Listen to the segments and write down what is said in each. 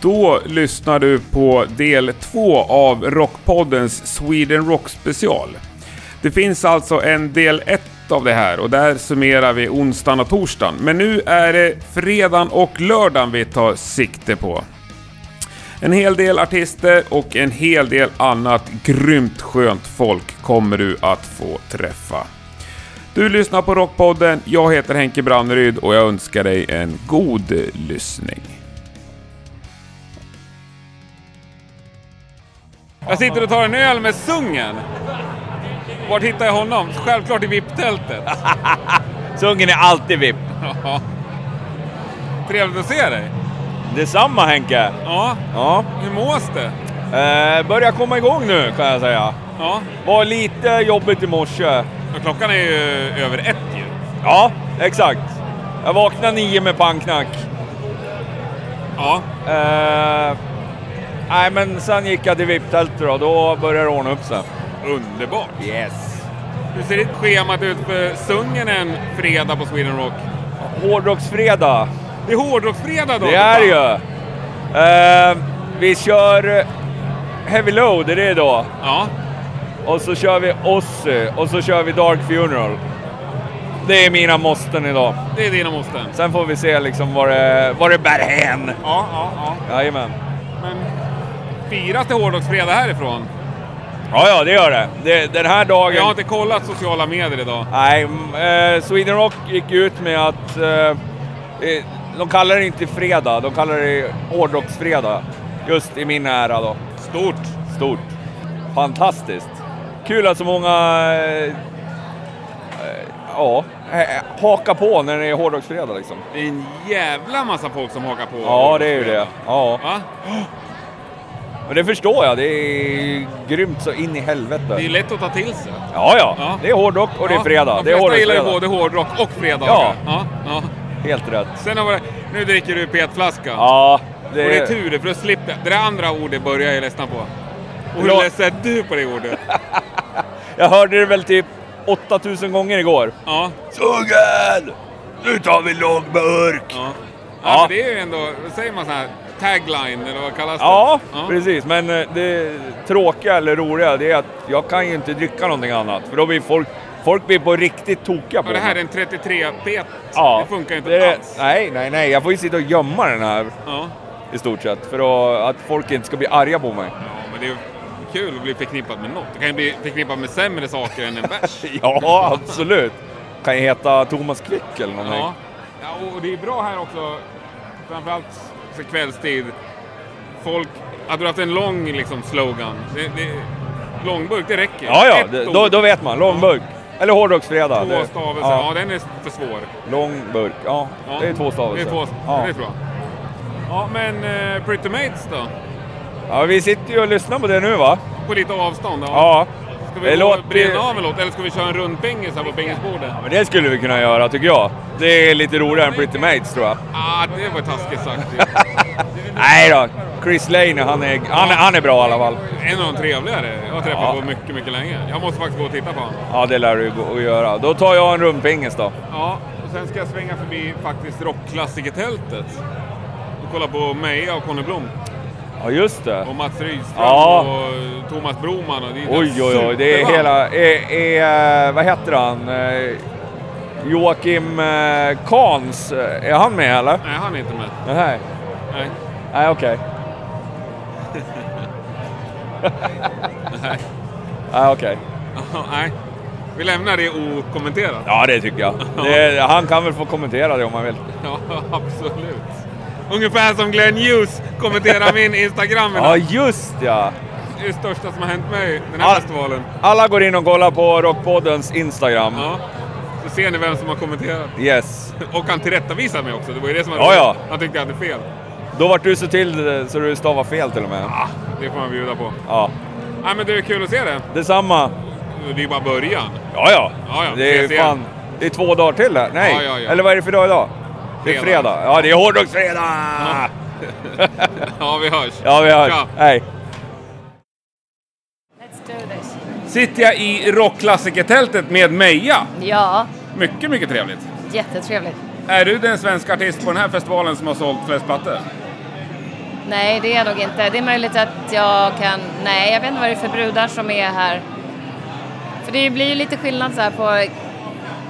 Då lyssnar du på del två av Rockpoddens Sweden Rock special. Det finns alltså en del ett av det här och där summerar vi onsdagen och torsdagen. Men nu är det fredagen och lördagen vi tar sikte på. En hel del artister och en hel del annat grymt skönt folk kommer du att få träffa. Du lyssnar på Rockpodden, jag heter Henke Branneryd och jag önskar dig en god lyssning. Jag sitter och tar en öl med Sungen. Vart hittar jag honom? Självklart i VIP-tältet. Sungen är alltid VIP. Ja. Trevligt att se dig. Detsamma Henke. Ja, Ja. hur mås det? Eh, börjar komma igång nu kan jag säga. Ja, Var lite jobbigt i morse. och klockan är ju över ett ju. Ja, exakt. Jag vaknade nio med pangknack. Ja, Eh, nej, men sen gick jag till VIP-tältet då. Då började det ordna upp sig. underbart. Yes. Hur ser ditt schemat ut för Sungen en fredag på Sweden Rock? Hårdrocksfredag. Det är hårdrocksfredag då! Det för är fan. det ju. Eh, vi kör eh, Heavy Load, är det då. Ja, Och så kör vi Ozzy och så kör vi Dark Funeral. Det är mina måsten idag. det är dina mosten. Sen får vi se liksom vad det, vad det bär hän. Ja, ja, ja. Jajamän. Men firas det hårdrocksfredag härifrån? Ja, ja, det gör det. det den här dagen... Jag har inte kollat sociala medier idag. Nej, mm, eh, Sweden Rock gick ut med att... Eh, eh, de kallar det inte fredag, de kallar det hårdrocksfredag. Just i min ära då. Stort! Stort. Fantastiskt. Kul att så många... Eh, eh, ja, eh, hakar på när det är hårdrocksfredag liksom. Det är en jävla massa folk som hakar på. Ja, det är ju det. Ja. Va? Men det förstår jag. Det är grymt så in i helvete. Det är lätt att ta till sig. Ja, ja. Ja. Det är hårdrock och det är Ja, fredag. De Det är flesta gillar ju hårdrocksfredag. både hårdrock och fredag. Ja. ja, ja. Helt rätt. Sen har vi, nu dricker du petflaska. Ja, Och det det är är... tur det, för då slipper Det där andra ordet börjar jag ledsna på. Och hur Bra. ledsen är du på det ordet? Jag hörde det väl typ 8000 gånger igår. Ja. Suggen! Nu tar vi lågburk! ja. Ja. ja. men det är ju ändå, vad säger man så här, tagline eller vad kallas Ja, det? Ja. precis. Men eh, det tråkiga eller roliga det är att jag kan ju inte dricka någonting annat. För då blir folk, folk blir på riktigt tokiga på Ja, det här är mig. en 33 pet. Det funkar inte det- alls. Nej, nej, nej. Jag får ju sitta och gömma den här Ja. i stort sett. För att, att folk inte ska bli arga på mig. ja, men det är ju kul att bli förknippad med något. Det kan ju bli förknippat med sämre saker än en bärs. Ja, absolut. Kan ju heta Thomas Quick eller någonting. Ja. ja, och det är bra här också, framförallt så kvällstid. Folk, hade du haft en lång liksom, slogan, det, det, långburk, det räcker. Ja, ja. Ett det- ord, Då, då vet man. Långburk. Eller hårdrocksfredag. Två Det- stavelser, ja. Ja, den är för svår. långburk. Ja, Ja. det är två stavelser. Det är, två, ja. det är bra. Ja, men eh, Pretty Mates då? ja, vi sitter ju och lyssnar på det nu va? På lite avstånd? Ja. Ja. Ska det vi gå låter- och bränna av en låt, eller ska vi köra en rund bängis här på bängisbordet? Men det skulle vi kunna göra tycker jag. Det är lite roligare än Pretty Mates tror jag. Ah, det var taskigt sagt. Nej då. Chris Lane, han är, han, är- han är bra i alla fall. en av de trevligare jag har träffat Ja. på mycket, mycket länge. Jag måste faktiskt gå och titta på honom. Ja, det lär du gå- att göra. Då tar jag en rumpingis då. Ja, och sen ska jag svänga förbi faktiskt rockklassikertältet. Och kolla på Meja och Conny Blom. Ja, just det. Och Mats Rydström Ja. och Thomas Broman. Och det är Oj, oj, oj. Det är superband. hela... Är, är, vad heter han? Eh, Joakim eh, Kahns. Är han med eller? Nej, han är inte med. Nej, Nej. nej okej. Nej, okej. Nej. Vi lämnar det okommenterat. Ja, det tycker jag. Det, han kan väl få kommentera det om han vill. Ja, absolut. Ungefär som Glenn Hughes kommenterar min Instagram Ja, idag. just ja! Det är det största som har hänt mig den här Ja. festivalen. Alla går in och kollar på Rockpoddens Instagram. Ja. Så ser ni vem som har kommenterat. Yes. Och han tillrättavisar mig också. Det var ju det som var Ja, ja. roligt. Han tyckte jag hade fel. Då vart du så till eh, så du stavar fel till och med. Ah, det får man bjuda på. Ja, Nej, men det är kul att se det. detsamma. Det är bara början. Ja, ja. Ja, ja. Det är Ses igen. fan... Det är två dagar till här. Nej. Ja, ja, ja. Eller vad är det för dag idag? Det är Fredag. fredag. Ja, det är hårdrocksfredag! Ja, vi hörs. Ja, vi hörs. Tja. Hej. Let's sitter jag i rockklassikertältet med Meja. Ja, Mycket, mycket trevligt. jättetrevligt. Är du den svenska artist på den här festivalen som har sålt flest plattor? Nej, det är jag nog inte. Det är möjligt att jag kan... Nej, jag vet inte vad det är för brudar som är här. För det blir ju lite skillnad så här på...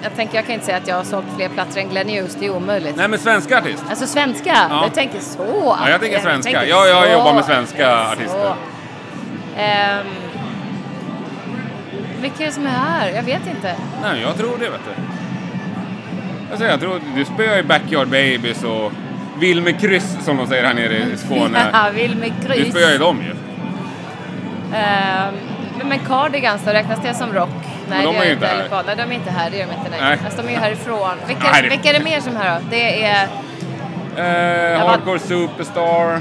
Jag tänker, jag kan inte säga att jag har sålt fler plattor än Glenn Hughes, det är omöjligt. Nej, men svenska artist. Alltså svenska? Ja. Du tänker så? Ja, jag tänker svenska. tänker Ja, jag så. jobbar med svenska Jag tänker artister. så. Ehm, vilka är det som är här? Jag vet inte. Nej, jag tror det vet du. Alltså, jag tror, du spöar ju Backyard Babies och Wilmer Kryss som de säger här nere i Skåne. Ja, Wilmy Du Kryss. spöar ju dem ju. Ehm, men Cardigans då, räknas det som rock? Nej, de det är gör ju inte inte här. Alipod. Nej, de är inte här. Det gör de inte. Nej. Nej. Alltså, de är ju härifrån. Vilka, Nej, det- vilka är det mer som är här då? Det är... Eh, var- hardcore Superstar.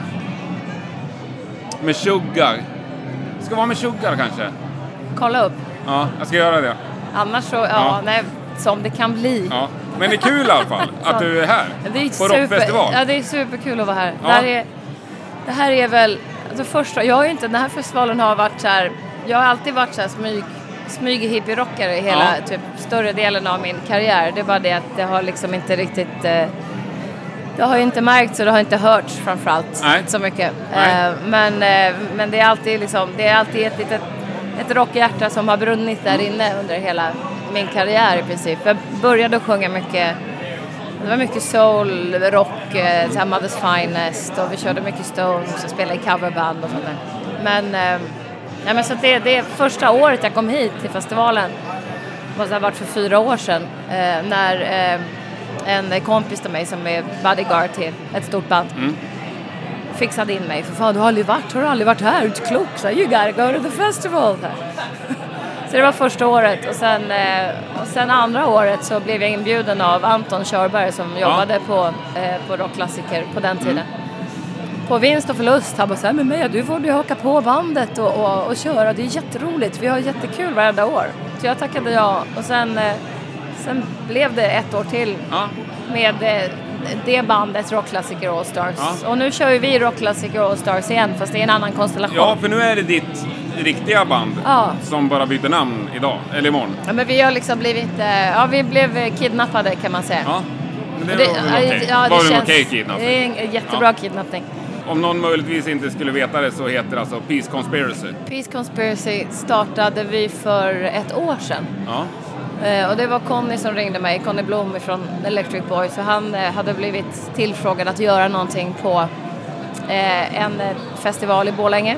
Med Sugar. Ska vara med Sugar kanske? Kolla upp. Ja, jag ska göra det. Annars så... Ja, Ja. nej. Som det kan bli. Ja. Men det är kul i alla fall att du är här. Det är på rockfestival. Ja, det är superkul att vara här. Ja. Det, här är, det här är väl alltså första... Jag har ju inte... Den här festivalen har varit så här... Jag har alltid varit så här smyg, smyg hippie-rockare i hela Ja. typ, större delen av min karriär. Det är bara det att det har liksom inte riktigt... Eh, det har ju inte märkts och det har inte hörts framförallt Nej. så mycket. Nej. Eh, men, eh, men det är alltid, liksom, det är alltid ett litet ett rockhjärta som har brunnit där inne under hela min karriär i princip. Jag började att sjunga mycket det var mycket soul, rock, eh, så här Mother's Finest och vi körde mycket Stones och spelade i coverband och sånt där. Men, eh, nej, men så att det, det är första året jag kom hit till festivalen måste ha varit för fyra år sedan eh, när eh, en kompis till mig som är bodyguard till ett stort band fixade in mig. För fan, du har aldrig varit, har du aldrig varit här? Du är inte klok. Så här, you gotta go to the festival. Så, här. så det var första året och sen, eh, och sen andra året så blev jag inbjuden av Anton Körberg som jobbade på, eh, på rockklassiker på den tiden. På vinst och förlust, han bara såhär, men Meja du borde ju haka på bandet och, och, och köra, det är jätteroligt, vi har jättekul varenda år. Så jag tackade ja och sen, eh, sen blev det ett år till Ja. med eh, det bandet Rockklassiker Allstars. Ja. Och nu kör ju vi Rockklassiker Allstars igen fast det är en annan konstellation. ja, för nu är det ditt riktiga band Ja. som bara byter namn idag, eller imorgon. Ja, men vi har liksom blivit, eh, ja vi blev eh, kidnappade kan man säga. Ja. Men det, Och det- var väl okej ja, Var det väl en känns- okej kidnappning? Det är en jättebra kidnappning. Om någon möjligtvis inte skulle veta det så heter det alltså Peace Conspiracy. Peace Conspiracy startade vi för ett år sedan. Ja. Eh, Och det var Conny som ringde mig, Conny Blom från Electric Boys. Och han eh, hade blivit tillfrågad att göra någonting på eh, en eh, festival i Borlänge.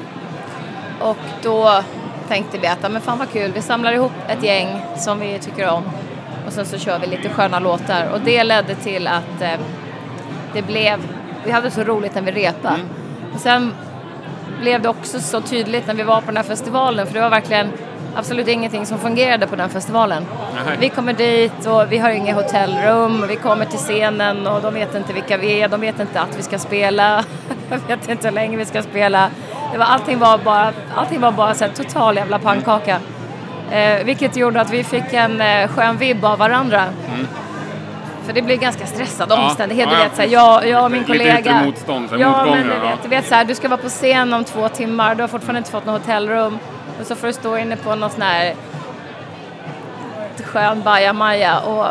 Och då tänkte vi att ja, men fan vad kul, vi samlar ihop ett gäng som vi tycker om. Och sen så kör vi lite sköna låtar. Och det ledde till att eh, det blev, vi hade så roligt när vi repade. Och sen blev det också så tydligt när vi var på den här festivalen för det var verkligen absolut ingenting som fungerade på den festivalen. Nej. Vi kommer dit och vi har inga hotellrum och vi kommer till scenen och de vet inte vilka vi är, de vet inte att vi ska spela, de vet inte hur länge vi ska spela. Det var, allting var bara, allting var bara så här, total jävla pannkaka. Eh, vilket gjorde att vi fick en eh, skön vibb av varandra. För det blir ganska stressade Ja, omständigheter. ja, du ja, vet, så här, jag, jag och min lite yttre kollega... motstånd, så här, ja, motgångar, men du ja. vet, du vet så här, du ska vara på scen om två timmar, du har fortfarande inte fått något hotellrum. Och så får du stå inne på någon sån här skön bajamaja och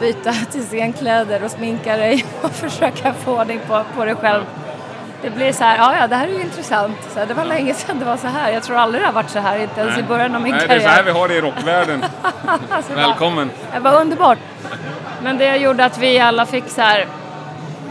byta till scenkläder och sminka dig och försöka få ordning på, på dig själv. Det blir så här, ja ja det här är ju intressant. Så här, det var länge sedan det var så här. Jag tror aldrig det har varit så här, inte ens i början av min Nej, det är karriär. så här vi har det i rockvärlden. Alltså, det var- Välkommen. det var underbart. Men det gjorde att vi alla fick så här,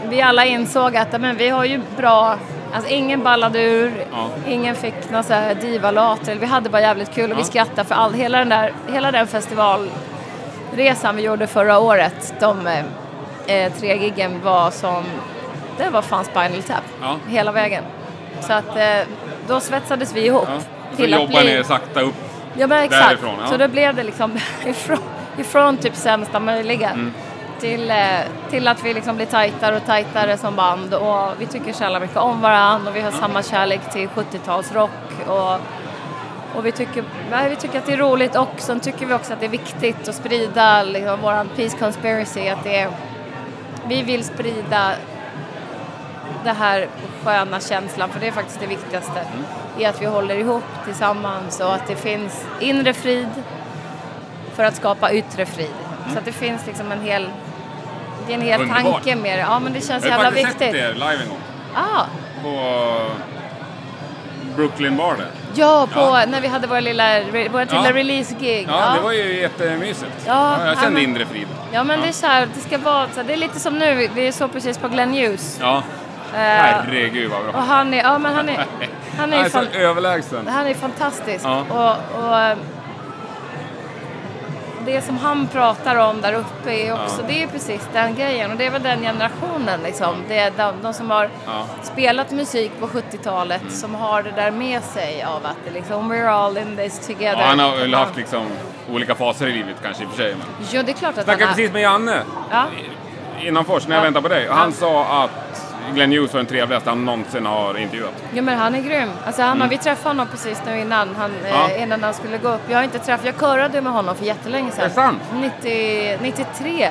vi alla insåg att ja, men vi har ju bra, alltså ingen ballade ur, Ja. ingen fick någon så här divalat, eller vi hade bara jävligt kul och vi skrattade för all, hela den där, hela den festivalresan vi gjorde förra året, de eh, eh, tre giggen var som, det var fan Spinal Tap Ja. hela vägen. Så att eh, då svetsades vi ihop. Ja. Så till att jobbar bli- ni sakta upp. Ja men exakt. Därifrån, ja. Så då blev det liksom ifrån, ifrån typ sämsta möjliga Mm. till, eh, till att vi liksom blir tajtare och tajtare som band och vi tycker så jävla mycket om varandra och vi har samma kärlek till 70-talsrock och, och vi, tycker, nej, vi tycker att det är roligt och sen tycker vi också att det är viktigt att sprida liksom, våran Peace Conspiracy att det är, vi vill sprida det här sköna känslan, för det är faktiskt det viktigaste, Mm. är att vi håller ihop tillsammans och att det finns inre frid för att skapa yttre frid. Så att det finns liksom en hel, det är en hel Underbart. tanke med det. Ja, men det känns Jag har jävla faktiskt sett viktigt. er live en gång. Ah, På Brooklyn Bar där. ja, på, Ja. när vi hade våra lilla, vårt lilla Ja. release-gig. Ja, det var ju jättemysigt. Ja, jag kände ja, men- inre frid. Ja men det är så här, det ska vara så här, det är lite som nu, vi såg precis på Glenn Hughes. Ja. Eh, Herregud vad och bra. han är, ja men han är, han Han är, är så fan, överlägsen. han är fantastisk. Ja. Och, och eh, det som han pratar om där uppe är också, Ja. det är precis den grejen. Och det är väl den generationen liksom. Det är de, de som har Ja. spelat musik på 70-talet Mm. som har det där med sig av att det liksom, we're all in this together. Ja, han har väl haft liksom olika faser i livet kanske i och för sig. Men... Jo, det är klart att Jag snackade han har. precis med Janne Ja. innanför när jag Ja. väntade på dig och han Ja. sa att Glenn Hughes var den trevligaste han någonsin har intervjuat. Jo men han är grym. Alltså han, Vi träffade honom precis nu innan han, Mm. Ja. eh, innan han skulle gå upp. Jag har inte träffat, jag körade med honom för jättelänge sedan. Är det sant? 90, 93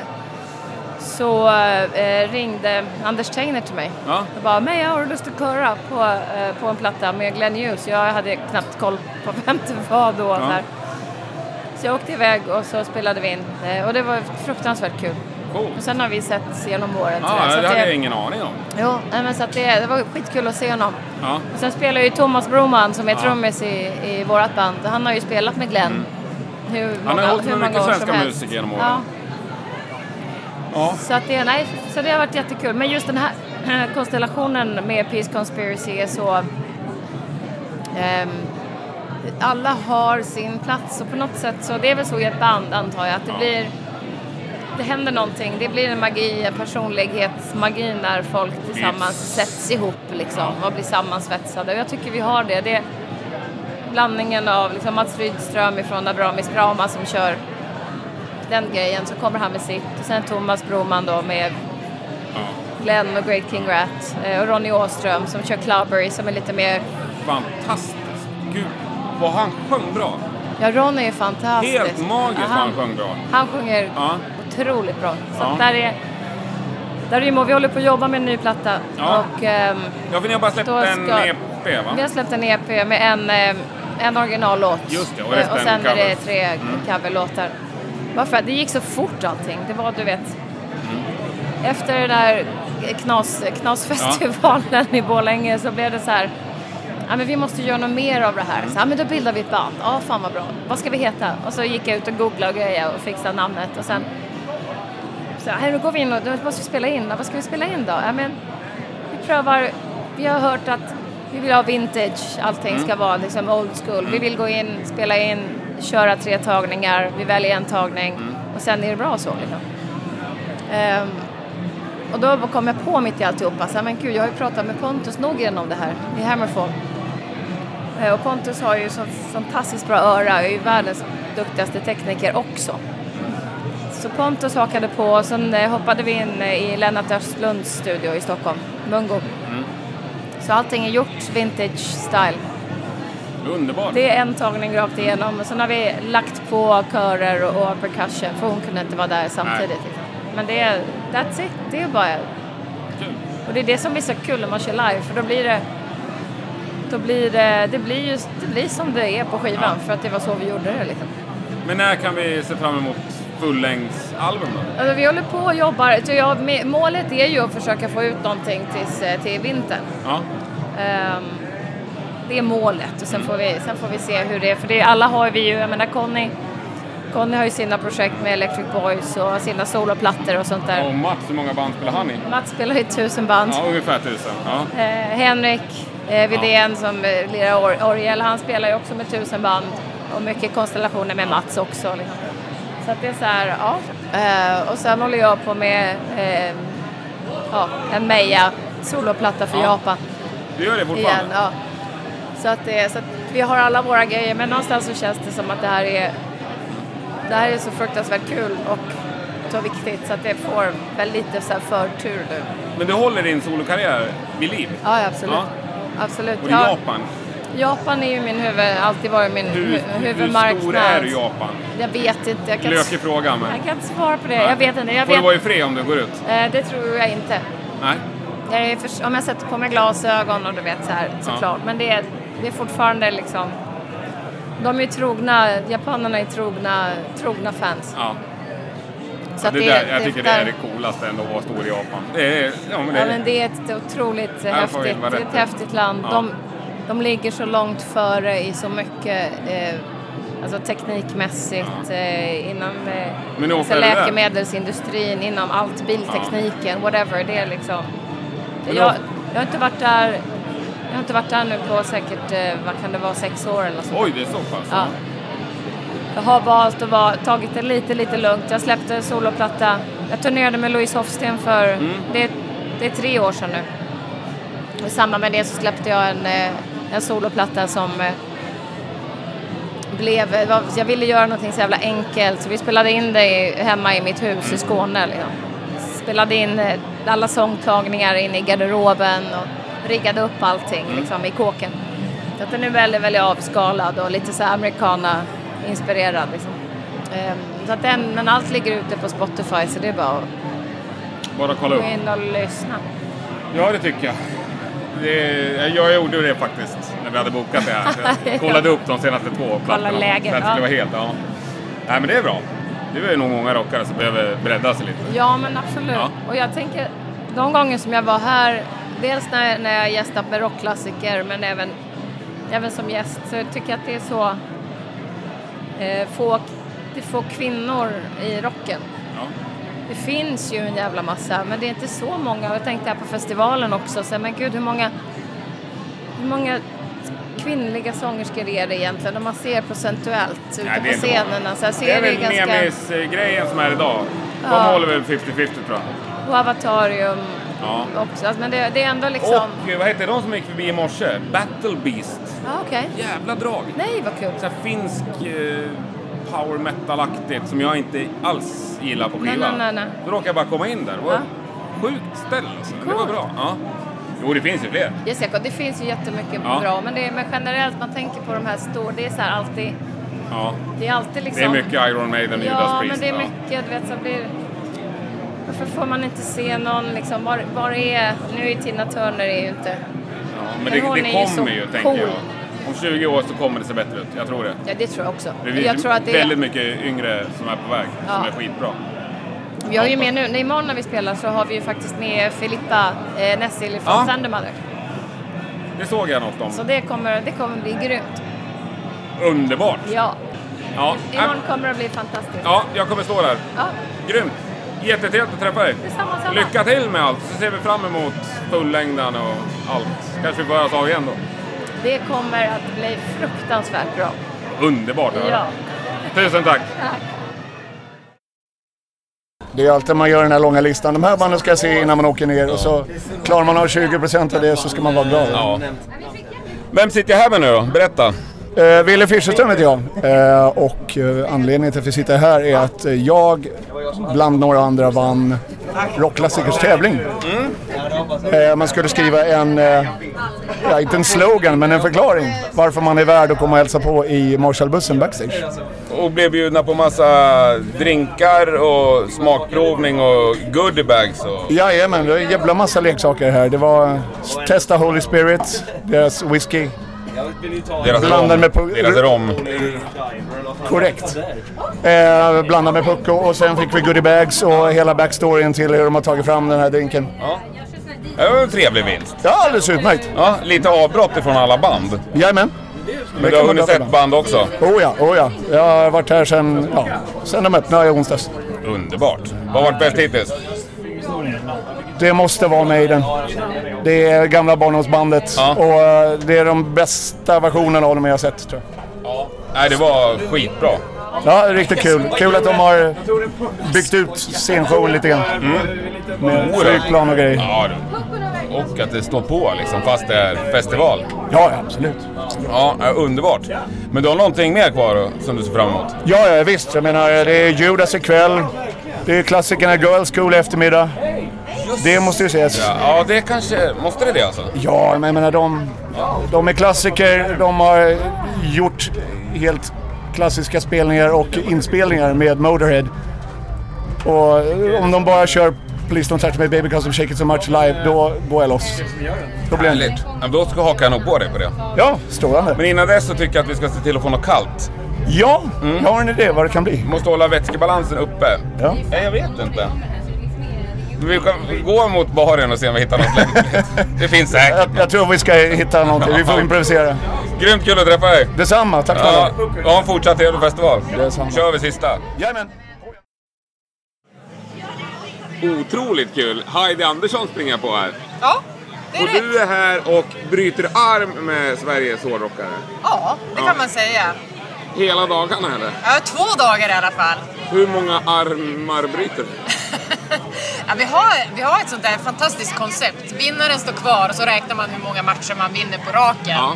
så eh, ringde Anders Tegner till mig. Ja. Jag bara, mig har du lust att köra på, eh, på en platta med Glenn Hughes? Jag hade knappt koll på vem det var då. Så, här. så jag åkte iväg och så spelade vi in eh, och det var fruktansvärt kul. Cool. Och sen har vi sett genom åren. så där, Ja, så det att hade jag ingen aning om. Jo, nej, men så att det, det var skitkul att se honom. Ja. Och sen spelar ju Thomas Broman som är trummis i, i vårat band. Han har ju spelat med Glenn. Hur många, Mm. har hållit hur med många mycket år som svenska helst. musiker genom Ja, åren. Ja. så, att det, nej, så det har varit jättekul. Men just den här konstellationen med Peace Conspiracy är så... ehm, alla har sin plats och på något sätt så, det är väl så i ett band antar jag, att det blir... Det händer någonting, det blir en magi, en personlighetsmagi när folk tillsammans Yes. sätts ihop liksom och blir sammansvetsade. Och jag tycker vi har det. det blandningen av liksom Mats Rydström ifrån Abramis Brahma som kör den grejen, så kommer han med sitt. Och sen Thomas Broman då med Ja. Glenn och Great King Rat. Eh, Och Ronny Åström som kör Clubbery som är lite mer... Fantastiskt! Gud, vad han sjöng bra! Ja, Ronny är fantastisk. Helt magiskt Ja, vad han sjöng bra. Han sjunger Ja. otroligt bra. Så Ja. där är... Där är vi håller på att jobba med en ny platta. Ja. Och, ehm, Ja, för ni har bara släppt Då en ska- EP va? vi har släppt en EP med en, ehm, en originallåt. Just det, och Eh, resten Mm. och sen är det covers. tre coverlåtar. Bara för att det gick så fort allting. Det var, du vet... Efter den där knas, knasfestivalen i Borlänge så blev det så här... Ja, men vi måste göra något mer av det här. Så, ja, men då bildar vi ett band. Ja, fan vad bra. Vad ska vi heta? Och så gick jag ut och googlade och grejade och fixade namnet. Och sen... Så, här, nu går vi in och då måste vi spela in. Ja, vad ska vi spela in då? Ja, men, vi prövar... Vi har hört att vi vill ha vintage. Allting ska vara liksom old school. Vi vill gå in, spela in, köra tre tagningar. Vi väljer en tagning och sen är det bra så. Liksom. Ehm, och då kom jag på mitt i alltihopa, så här, men gud jag har ju pratat med Pontus Norgren om det här i Hammerfall. Eh, Och Pontus har ju så fantastiskt bra öra, är ju världens duktigaste tekniker också. Så Pontus hakade på och sen eh, hoppade vi in eh, i Lennart Östlunds studio i Stockholm, Mungo. Mm. Så allting är gjort vintage style. Underbart! Det är en tagning rakt igenom och sen har vi lagt på körer och och percussion för hon kunde inte vara där samtidigt. Nej. Liksom. Men det är, that's it, det är bara... Och det är det som blir så kul när man kör live för då blir det... Då blir det, det blir just, det blir som det är på skivan för att det var så vi gjorde det liksom. Men när kan vi se fram emot fullängdsalbum då? Alltså, vi håller på och jobbar, så jag, med- målet är ju att försöka få ut någonting tills, eh, till vintern. Ja. Ehm, det är målet och sen får, vi, sen får vi se hur det är. För det, alla har vi ju, jag menar Conny, Conny har ju sina projekt med Electric Boys och sina soloplattor och sånt där. Och Mats, hur många band spelar han i? Mats spelar i tusen band. Ja, ungefär tusen. Ja. Eh, Henrik eh, Widén som eh, lirar or- orgel, han spelar ju också med tusen band och mycket konstellationer med Mats också. Liksom. Så att det är så här, ja. Eh, och sen håller jag på med eh, ja, en Meja soloplatta för Ja. Japan Du gör det igen. fortfarande? Ja. Så, att det, så att vi har alla våra grejer men någonstans så känns det som att det här är, det här är så fruktansvärt kul och så viktigt så att det får väl lite så här förtur nu. Men du håller din solokarriär vid liv? Ja, absolut. Ja. Absolut. Och i Ja, Japan, Japan är ju min huvud, alltid varit min hur, hu- hur huvudmarknad. stor är du i Japan? Jag vet inte. Jag kan, Lökig fråga men... jag kan inte svara på det. Jag vet inte. Jag Får du vet, vara i fred om du går ut? eh, det tror jag inte. Nej? Jag är för, om jag sätter på mig glasögon och du vet så här, såklart. Men det är, det är fortfarande liksom... De är ju trogna, japanerna är trogna, trogna fans. Ja. Så att det där, jag det- tycker det är det coolaste ändå att vara stor i Japan. Det är, ja, men det Ja, är men det är ett otroligt får häftigt, vi vara det är rätt. ett häftigt land. Ja. De, de ligger så långt före i så mycket eh, alltså teknikmässigt, eh, inom eh, Men nu alltså åker du där. läkemedelsindustrin, inom allt, biltekniken, whatever. Det är liksom... Men Jag, nu- jag har inte varit där jag har inte varit där nu på säkert, eh, vad kan det vara, sex år eller något sånt. Oj, det är så pass? Ja. Jag har valt att vara, tagit det lite, lite lugnt. Jag släppte soloplatta. Jag turnerade med Louise Hofsten för, Mm. det, det är tre år sedan nu. Och I samband med det så släppte jag en, eh, en soloplatta som eh, blev, det var- jag ville göra någonting så jävla enkelt så vi spelade in det i- hemma i mitt hus i Skåne. Liksom. Spelade in eh, alla sångtagningar inne i garderoben och riggade upp allting Mm. liksom, i kåken. Så att den är väldigt, väldigt avskalad och lite så här americana-inspirerad. Liksom. Ehm, Så att den, men allt ligger ute på Spotify så det är bara att Bara kolla gå upp. in och lyssna. Ja, det tycker jag. Det, jag gjorde det faktiskt när vi hade bokat det här. Jag kollade upp de senaste två plattorna. läget, Så att det ja. var helt, ja. Nej, men det är bra. Det är ju nog många rockare som behöver bredda sig lite. Ja, men absolut. Ja. Och jag tänker, de gånger som jag var här, dels när, när jag gästat med rockklassiker, men även, även som gäst, så tycker jag att det är så eh, få, det är få kvinnor i rocken. Ja. Det finns ju en jävla massa, men det är inte så många. Jag tänkte här på festivalen också, så, här, men gud hur många, hur många kvinnliga sångerskor är det egentligen? Om man ser procentuellt ute Nej, det är på inte många. scenerna så här, så Det är är det väl ju ganska... Nemis-grejen som är idag. De Ja. håller väl 50-50 tror jag. Och Avatarium Ja. också. Alltså, Men det, det är ändå liksom... Och eh, vad heter de som gick förbi i morse? Battle Beast. Ja, okej. Jävla drag. Nej, vad kul. Så här finsk eh, power metal-aktigt som jag inte alls gillar på Nej, skivan. nej, nej, nej. Då råkade jag bara komma in där. Det var Ja. sjukt ställe alltså. Det var Coolt. bra. Ja. Jo, det finns ju fler. Yes, Jakob, det finns ju jättemycket Ja. bra, men, det, men generellt man tänker på de här stora, det är så här alltid, Ja. det är alltid liksom... Det är mycket Iron Maiden och Judas Ja, men Priest. det är mycket, du vet, så blir Varför får man inte se någon liksom, var, var är... Nu är ju Tina Turner är ju inte... Ja. Ja, men Men det, hon det är ju kommer så ju, tänker cool. jag. Om 20 år så kommer det se bättre ut. Jag tror det. Ja, det tror jag också. Det är jag tror att det väldigt mycket yngre som är på väg, som Ja. är skitbra. Vi har ju med nu, när imorgon när vi spelar så har vi ju faktiskt med Filippa eh, Nessil från Ja. Thundermother. Det såg jag något om. Så det kommer, det kommer bli grymt. Underbart! Ja. Ja. Imorgon kommer det bli fantastiskt. ja, jag kommer stå där. Ja, Grymt! Jättetrevligt att träffa dig. Detsamma, detsamma. Lycka till med allt, så ser vi fram emot fullängden och allt. Kanske vi börjar av igen då. det kommer att bli fruktansvärt bra. Underbart att höra. Ja. Tusen tack! Det är alltid man gör den här långa listan. De här banden ska jag se innan man åker ner. Och så klarar man av 20% av det så ska man vara glad. Ja. Vem sitter jag här med nu då? Berätta! Eh, Wille Fischerström heter jag eh, och eh, anledningen till att vi sitter här är att eh, jag bland några andra vann Rockklassikers tävling. Mm. Eh, man skulle skriva en, eh, ja, inte en slogan, men en förklaring varför man är värd att komma och hälsa på i Marshallbussen backstage. Och blev bjudna på massa drinkar och smakprovning och goodiebags och... Jajamän, det var en jävla massa leksaker här. Det var eh, Testa Holy Spirit, deras whisky. Deras Blandad rom. med pu- Deras rom. Korrekt. Eh, blandad med pucko och sen fick vi goodiebags och hela backstoryn till hur de har tagit fram den här drinken. Det var en trevlig vinst. Ja, alldeles utmärkt. Ja, lite avbrott ifrån alla band. Jajamän. Men du har hunnit sett band också. Oh ja, oh ja. Jag har varit här sen, ja, sen de öppnade i onsdags. Underbart. Vad har varit bäst hittills? Det måste vara Maiden. Det är gamla barndomsbandet Ja. och eh, det är de bästa versionerna av dem jag har sett tror jag. Nej, det var skitbra. Ja, riktigt kul. Kul att de har byggt ut scenshowen lite grann. Mm. Med flygplan och grejer. Ja, du. och att det står på liksom, fast det är festival. Ja, ja, absolut. Ja, ja, underbart. Men du har någonting mer kvar då, som du ser fram emot? Ja, ja, visst. Jag menar, det är Judas ikväll. Det är klassikerna Girls School i eftermiddag. Det måste ju ses. Ja, Ja, det kanske... Måste det det alltså? Ja, men jag menar de, de är klassiker. De har gjort helt klassiska spelningar och inspelningar med Motorhead. Och om de bara kör Please Don't Touch Me Baby Cause I'm Shaking So Much live, då går jag loss. Då blir jag nöjd. Härligt. Ja, Då ska hakan nog på dig på det. Ja, strålande. Men innan dess så tycker jag att vi ska se till att få något kallt. Mm. Ja, jag har en idé vad det kan bli. Vi måste hålla vätskebalansen uppe. Ja. Nej, jag vet inte. Vi kan gå mot baren och se om vi hittar något lämpligt. Det finns säkert. Jag, jag tror vi ska hitta någonting. Vi får improvisera. Grymt kul att träffa dig. Detsamma, tack Ja, snälla. ha en fortsatt trevlig festival. Detsamma. kör vi sista. Jajamän. Otroligt kul! Heidi Andersson springer jag på här. Ja, det Och är rätt. du är här och bryter arm med Sveriges hårdrockare. Ja, det Ja. kan man säga. Hela dagarna eller? Ja, två dagar i alla fall. Hur många armar bryter du? Ja, vi, har, vi har ett sånt där fantastiskt koncept. Vinnaren står kvar och så räknar man hur många matcher man vinner på raken. Ja.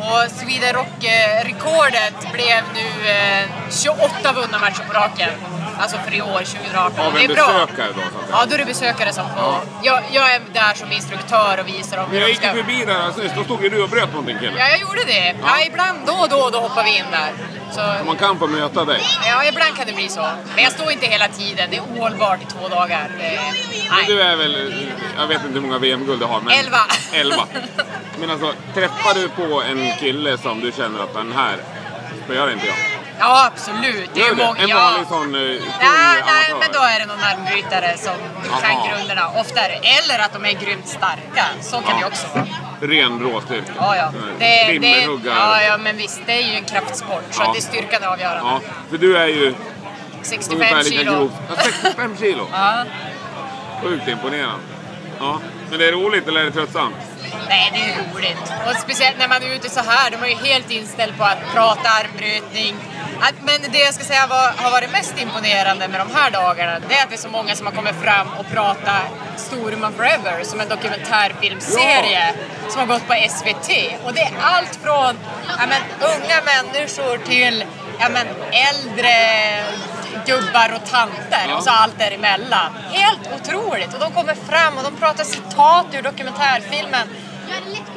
Och Sweden Rock-rekordet blev nu eh, 28 vunna matcher på raken. Alltså för i år, 2018. Av det en är bra. besökare då så att säga. Ja, då är det besökare som får... Jag, jag är där som instruktör och visar dem Men jag hur de gick ju ska... förbi där alldeles nyss, då stod ju du och bröt någonting kille. Ja, jag gjorde det. Ja, ibland då och då, då hoppar vi in där. Så Man kan få möta dig. Ja, ibland kan det bli så. Men jag står inte hela tiden. Det är ohållbart i två dagar. Eh, Men Nej. Du är väl, jag vet inte hur många VM-guld du har men... Elva. Elva. Men alltså, träffar du på en kille som du känner att den här spöar inte jag? Ja, absolut. Det är Gör ju du många... det? En ja. vanlig sån eh, stor Nej, nej, amatör? men då är det någon armbrytare som Aha. kan grunderna oftare. Eller att de är grymt starka. Så kan det också vara. Ren råstyrka? Ja, ja. Det, det, Timmerhuggar? ja, ja, men visst. Det är ju en kraftsport. Så Ja. att det är styrkan det avgörande. Ja, för du är ju 65 ungefär lika kilo. grov. Ja, 65 kilo! Ja. Sjukt imponerande. Ja. Men det är roligt eller är det tröttsamt? Nej, det är roligt. Och speciellt när man är ute så här, de är ju helt inställd på att prata armbrytning. Att, men det jag ska säga var, har varit mest imponerande med de här dagarna, det är att det är så många som har kommit fram och pratat Storuman Forever som en dokumentärfilmserie som har gått på SVT. Och det är allt från ja, men, unga människor till ja, men, äldre gubbar och tanter och så allt däremellan. Helt otroligt! Och de kommer fram och de pratar citat ur dokumentärfilmen.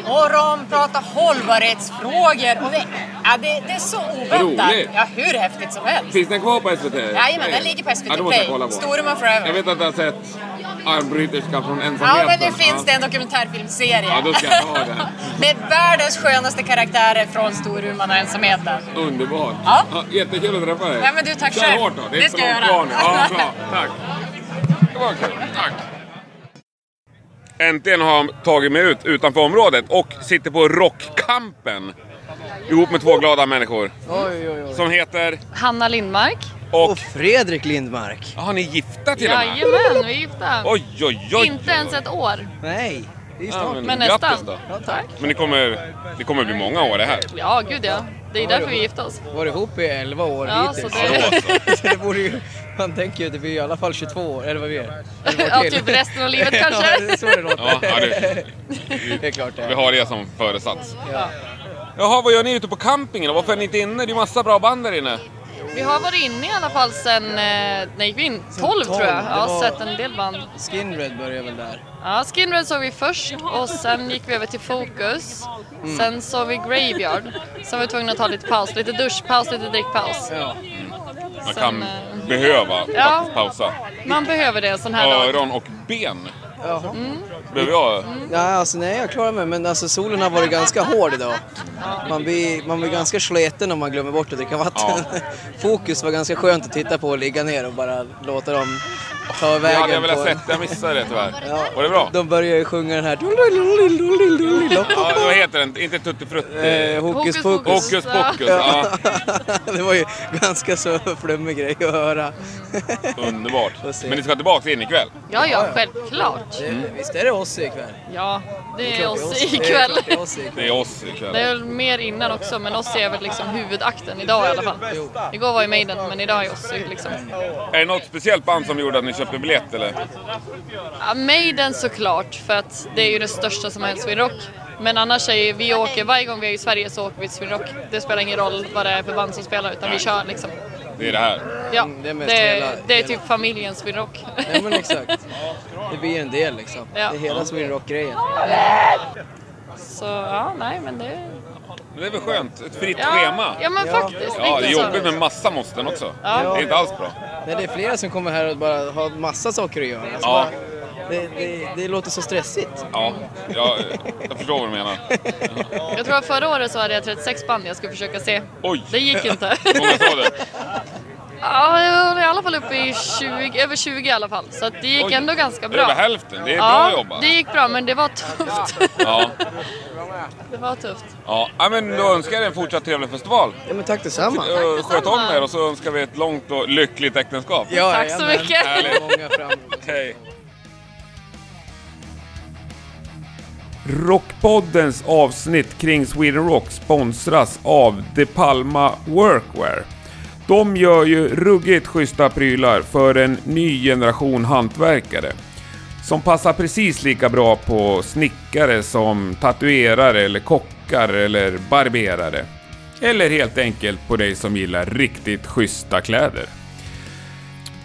Och de pratar hållbarhetsfrågor. Och det, ja, det, det är så oväntat. Roligt. Ja, hur häftigt som helst. Finns den kvar på SVT? Jajamän, den ligger på SVT Ja, då måste jag kolla Play. på. Storuman Jag forever. vet att jag har sett Armbryterska från ensamheten. Ja, men nu finns det en dokumentärfilmserie. Ja, då ska jag ha den. Med världens skönaste karaktärer från Storuman och ensamheten. Underbart. Ja. jättekul att träffa dig. Ja, men du, tack Kör själv. hårt då. Det är Det inte ska jag långt göra. kvar nu. Ja, bra. Tack. Det var kul. Tack. Äntligen har jag tagit mig ut utanför området och sitter på Rockkampen. Ihop med två glada människor. Oj, oj, oj. Som heter... Hanna Lindmark. Och... Och Fredrik Lindmark. Ja, ni är gifta till och med? Jajamän, vi är gifta. Oj, oj, oj. Inte ens ett år, Nej, det är ju Ja, snart. men grattis nästan. då. Ja, tack. Men det kommer, det kommer bli många år det här. Ja, gud ja. Det är därför vi gifte oss. Var ihop i 11 år Ja, så hittills. det... Så det borde ju... Man tänker ju att det blir i alla fall 22 år, eller vad vi är. Eller Ja, vad till. typ resten av livet Ja, det är kanske. så det låter. Ja, ja, det- Det är klart det Vi är. har det som föresats. Jaha, vad gör ni ute på campingen då? Varför är ni inte inne? Det är massa bra band där inne. Vi har varit inne i alla fall sen, eh, när gick vi in? 12 tror jag. det Ja, var- sett en del band. Skinred börjar väl där. Ja, Skinred såg vi först och sen gick vi över till Focus. Mm. Sen såg vi Graveyard. Sen var vi tvungna att ta lite paus. Lite duschpaus, lite drickpaus. Ja. Man Sen, kan eh, behöva ja. pausa. Man behöver det en sån här dag. Öron och ben Jaha. Mm. behöver jag. Nej, alltså, nej, jag klarar mig. Men alltså, solen har varit ganska hård idag. Man blir, man blir ganska sleten om man glömmer bort att dricka vatten. Fokus var ganska skönt att titta på och ligga ner och bara låta dem ta Det hade jag vägen. velat på en. sett, jag missade det tyvärr. Ja. Var det bra? De börjar ju sjunga den här... Ja, Ja, vad heter den? Inte Tutti Frutti? Eh, hokus Hokus pokus. pokus. Hokus pokus. Ja, det var ju ganska så flummig grej att höra. underbart. Får se. Men ni ska tillbaka in ikväll? Ja, ja, självklart. Det- Visst är det oss ikväll? Ja, det är Det är oss oss. ikväll. Det är klart det är oss ikväll. Det är oss Det ikväll. är väl mer innan också, men oss är väl liksom huvudakten idag i alla fall. Jo. Igår var ju Maiden, men idag är oss liksom. Är det något speciellt band som gjorde att ni köpte biljett eller? Ja, Maiden såklart, för att det är ju det största som har hänt Sweden Rock. Men annars är ju, vi åker, varje gång vi är i Sverige så åker vi till Sweden Rock. Det spelar ingen roll vad det är för band som spelar, utan vi kör liksom. Det är det här. Ja, Mm, det är mest det hela- är, det är hela- typ familjens Sweden Rock. Ja men exakt. Det blir ju en del liksom. Ja. Det är hela Sweden Rock-grejen. Så ja, nej men det... Men det är väl skönt? Ett fritt Ja, schema. ja, men Ja. faktiskt. Ja, det är lite så. jobbigt med massa måsten också. Ja. Det är inte alls bra. Nej, det är flera som kommer här och bara har massa saker att göra. Alltså, Ja. bara, det, det, det låter så stressigt. Ja, jag, jag förstår vad du menar. Jag tror att förra året så hade jag 36 band jag skulle försöka se. Oj! Det gick inte. Många sa det. ja, jag var i alla fall uppe i 20, över 20 i alla fall. Så att det gick Oj. ändå ganska Det är över bra. hälften. Det är ja, bra jobbat. det gick bra men det var tufft. Ja, det var tufft. ja. ja, men då önskar jag er en fortsatt trevlig festival. Ja, men tack detsamma. Eh, Sköt om detsamma. er och så önskar vi ett långt och lyckligt äktenskap. Ja, Tack så jajamän. mycket. Det är många fram- Hej. Rockpoddens avsnitt kring Sweden Rock sponsras av De Palma Workwear. De gör ju ruggigt schyssta prylar för en ny generation hantverkare. Som passar precis lika bra på snickare som tatuerare eller kockar eller barberare. Eller helt enkelt på dig som gillar riktigt schyssta kläder.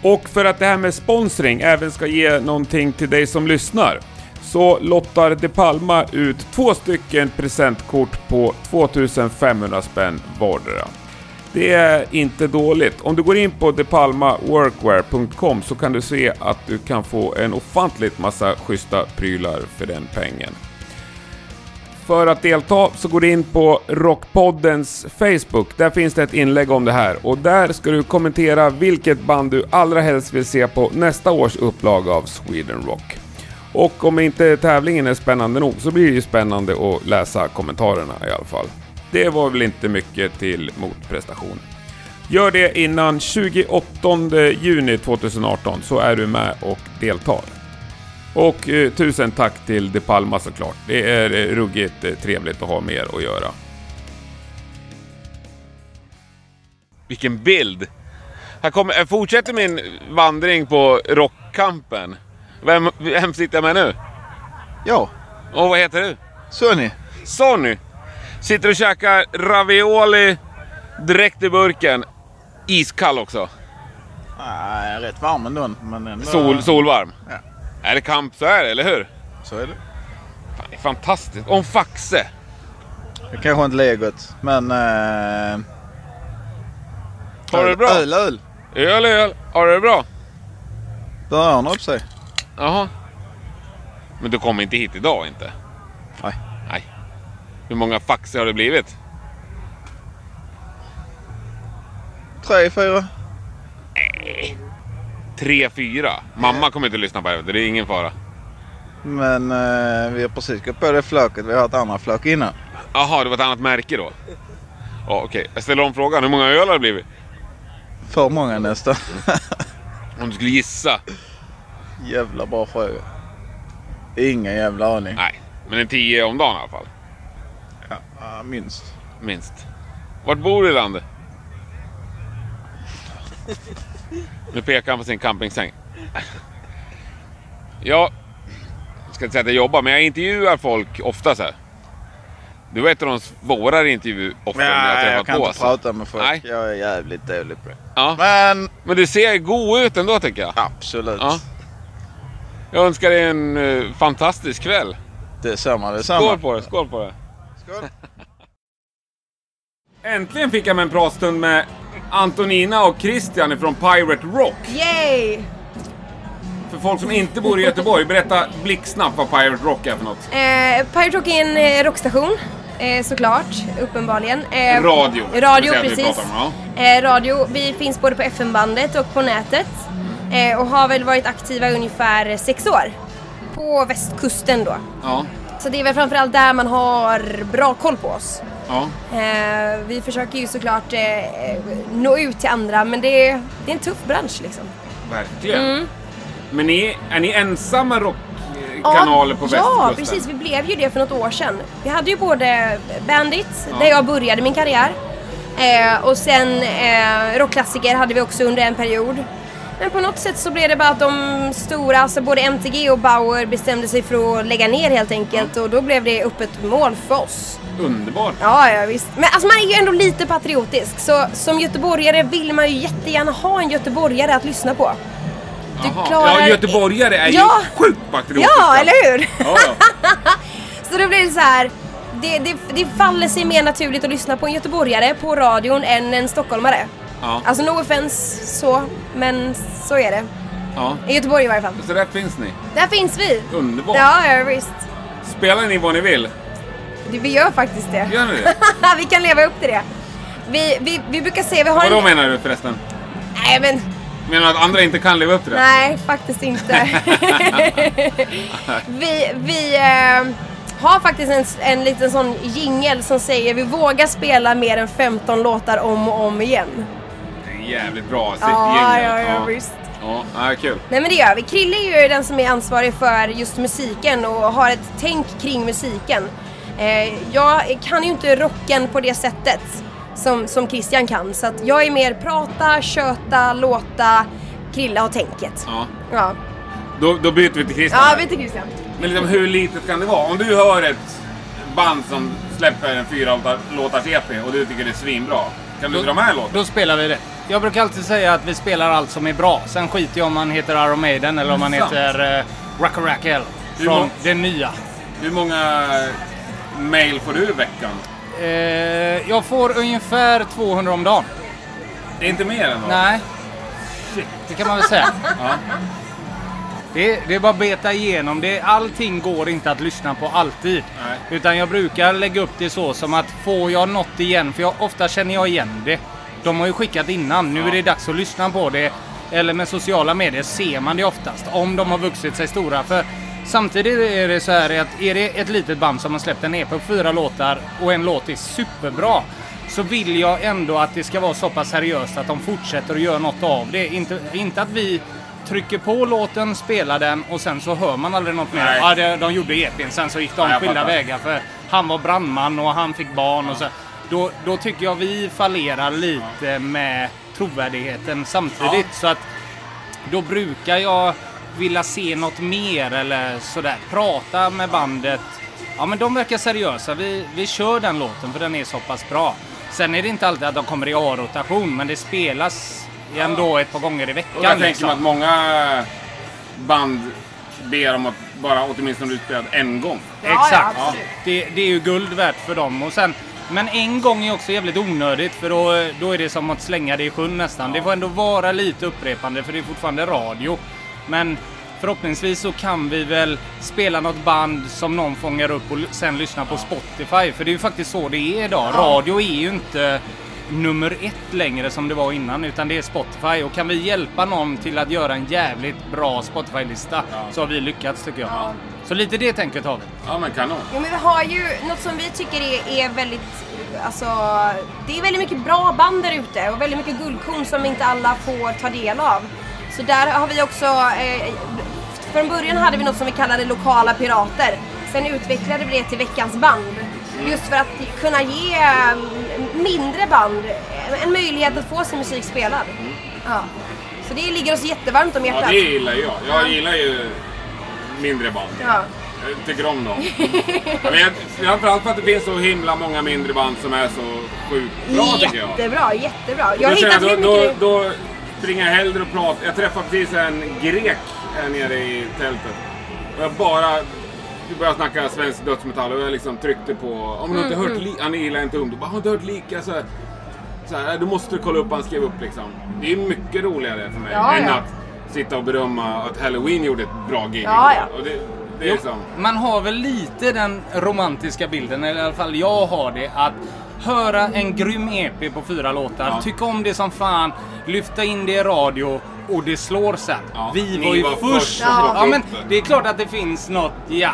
Och för att det här med sponsring även ska ge någonting till dig som lyssnar så lottar De Palma ut två stycken presentkort på 2500 spänn vardera. Det är inte dåligt. Om du går in på depalmaworkwear.com så kan du se att du kan få en ofantligt massa schyssta prylar för den pengen. För att delta så går du in på Rockpoddens Facebook. Där finns det ett inlägg om det här och där ska du kommentera vilket band du allra helst vill se på nästa års upplaga av Sweden Rock. Och om inte tävlingen är spännande nog så blir det ju spännande att läsa kommentarerna i alla fall. Det var väl inte mycket till motprestation. Gör det innan 28 juni 2018 så är du med och deltar. Och eh, tusen tack till De Palma såklart. Det är eh, ruggigt eh, trevligt att ha med er att göra. Vilken bild! Här kommer, jag fortsätter min vandring på rockkampen. Vem, vem sitter jag med nu? Ja, Och vad heter du? Sonny. Sonny! Sitter och käkar ravioli direkt i burken. Iskall också. Nej, jag är rätt varm ändå. Men ändå... Sol, solvarm. Ja. Är det kamp så är det, eller hur? Så är det. Fan, det är fantastiskt. Om Faxe. Det kanske inte ligger gott, men... Eh... Har du det bra? Öl, öl. Öl, öl. Har du det bra? Börjar han upp sig? Jaha. Men du kommer inte hit idag inte? Nej. Nej. Hur många Faxe har det blivit? Tre, fyra. Tre, fyra. Mamma kommer inte att lyssna på det, det är ingen fara. Men eh, vi har precis gått på det flaket. Vi har ett annat flak innan. Jaha, det var ett annat märke då? Ja, okej. Jag ställer om frågan. Hur många öl har det blivit? För många nästan. Om du skulle gissa? jävla bra fråga. Ingen jävla aning. Nej. Men en tio om dagen i alla fall. Ja, minst. Minst. Vart bor du i landet? Nu pekar han på sin campingsäng. Ja, jag ska inte säga att jag jobbar, men jag intervjuar folk ofta så här. Du var ett av de svårare intervjuoffer jag Ja, har jag träffat kan på. inte alltså. prata med folk. Nej. Jag är jävligt dålig på det. Ja. Men Men du ser god ut ändå tycker jag. absolut. Ja. Jag önskar dig en eh, fantastisk kväll. Detsamma, Skål detsamma. på dig, skål på dig. Skål. Äntligen fick jag mig en pratstund med Antonina och Christian från Pirate Rock. Yay! För folk som inte bor i Göteborg, berätta blixtsnabbt vad Pirate Rock är för något. Eh, Pirate Rock är en eh, rockstation, eh, såklart, uppenbarligen. Eh, Radio, ska vi Radio, säga att vi precis. pratar om, eh, radio. Vi finns både på FM-bandet och på nätet. Eh, och har väl varit aktiva i ungefär sex år. På västkusten då. Ja, Så det är väl framförallt där man har bra koll på oss. ja. Eh, vi försöker ju såklart eh, nå ut till andra men det är, det är en tuff bransch liksom. Verkligen. Mm. Men ni, är ni ensamma rockkanaler på Ja, västkusten? precis. Vi blev ju det för något år sedan. Vi hade ju både Bandit, där jag började min karriär, eh, och sen eh, rockklassiker hade vi också under en period. Men på något sätt så blev det bara att de stora, alltså både MTG och Bauer bestämde sig för att lägga ner helt enkelt och då blev det öppet mål för oss. Underbart. Ja, ja visst. Men alltså man är ju ändå lite patriotisk så som göteborgare vill man ju jättegärna ha en göteborgare att lyssna på. Du Jaha. klarar- Ja, göteborgare är Ja. ju sjukt patriotiska. Ja, eller hur? Ja, ja. Så då blir det så här. det, det, det faller sig mer naturligt att lyssna på en göteborgare på radion än en stockholmare. Ja. Alltså no offense så, men så är det. ja. I Göteborg i varje fall. Så där finns ni. Där finns vi! Alltså, Underbart. Ja, ja visst. Spelar ni vad ni vill? Det- Vi gör faktiskt det. Gör ni det? vi kan leva upp till det. Vi, vi, vi brukar se, vi har Vadå en... menar du förresten? Nej men, Menar du att andra inte kan leva upp till det? nej faktiskt inte. vi vi eh, har faktiskt en, en liten sån jingel som säger vi vågar spela mer än 15 låtar om och om igen. Det är jävligt bra. Sitt Ja, gäng. ja, ja, visst. Ja, ja, kul. Nej men det gör vi. Krille är ju den som är ansvarig för just musiken och har ett tänk kring musiken. Eh, jag kan ju inte rocken på det sättet som, som Christian kan så att jag är mer prata, köta, låta, Krille har tänket. Ja. Ja, Då, då byter vi till Christian. ja här. vi till Christian. Men liksom, hur litet kan det vara? Om du hör ett band som släpper en fyra låtars EP och du tycker det är svinbra. Kan du dra med en låt? Då spelar vi det. Jag brukar alltid säga att vi spelar allt som är bra. Sen skiter jag om man heter Iron Maiden eller om man Sant. heter uh, Rackarackel Hur från många- det nya. Hur många mail får du i veckan? Eh, jag får ungefär 200 om dagen. Det är inte mer än vad? Nej. Det kan man väl säga. Det, det är bara att beta igenom det. Allting går inte att lyssna på alltid. Utan jag brukar lägga upp det så som att får jag något igen? För jag, ofta känner jag igen det. De har ju skickat innan. Nu är det dags att lyssna på det. Eller med sociala medier ser man det oftast. Om de har vuxit sig stora. För samtidigt är det så här att är det ett litet band som har släppt en EP på fyra låtar och en låt är superbra. Så vill jag ändå att det ska vara så pass seriöst att de fortsätter att göra något av det. Inte, inte att vi trycker på låten, spelar den och sen så hör man aldrig något mer. Nej. Ja, det, de gjorde EPn, sen så gick de Ja, jag skilda fattar. vägar för han var brandman och han fick barn och så. Då, då tycker jag vi fallerar lite med trovärdigheten samtidigt. Så att då brukar jag vilja se något mer eller sådär. Prata med bandet. Ja men de verkar seriösa. Vi, vi kör den låten för den är så pass bra. Sen är det inte alltid att de kommer i A-rotation men det spelas ändå ett par gånger i Och jag veckan. liksom. tänker mig att många band ber om att bara åtminstone bli spelad en gång. Exakt. det, det är ju guld värt för dem. Och sen, men en gång är också jävligt onödigt för då, då är det som att slänga det i sjön nästan. Det får ändå vara lite upprepande för det är fortfarande radio. Men förhoppningsvis så kan vi väl spela något band som någon fångar upp och l- sen lyssna på Spotify. För det är ju faktiskt så det är idag. Ja. Radio är ju inte nummer ett längre som det var innan utan det är Spotify och kan vi hjälpa någon till att göra en jävligt bra Spotify-lista så har vi lyckats tycker jag. Så lite det tänket har vi. Ja men kanon. Jo men vi har ju något som vi tycker är, är väldigt, alltså det är väldigt mycket bra band där ute och väldigt mycket guldkorn som inte alla får ta del av. Så där har vi också, eh, från början hade vi något som vi kallade lokala pirater. Sen utvecklade vi det till veckans band. Mm. Just för att kunna ge eh, mindre band eh, en möjlighet att få sin musik spelad. Ja. Så det ligger oss jättevarmt om hjärtat. Mm. Ja, det gillar jag. Jag gillar ju mindre band. Ja. Jag tycker om dem. Jag vet, framförallt för att det finns så himla många mindre band som är så sjukt bra tycker jag. Jättebra, jättebra. Jag har Då känner hittat hur jag, då, mycket... då, då springer jag hellre och pratar. Jag träffade precis en grek här nere i tältet. Och jag bara... Vi började snacka svensk dödsmetall och jag liksom tryckte på... Om du inte Mm, hört mm. li- Han gillar inte ungdom. Bara, Har du inte hört lika? Så här, så här, du måste du kolla upp vad han skrev upp liksom. Det är mycket roligare för mig Ja, än ja. att sitta och berömma att Halloween gjorde ett bra gig. Ja, ja. Och det, det är Jo, liksom... Man har väl lite den romantiska bilden, eller i alla fall jag har det, att höra en grym EP på fyra låtar, Ja. tycka om det som fan, lyfta in det i radio och det slår sen. Vi Ni var ju var först. först som Ja. plockade upp men det. det är klart att det finns något, ja.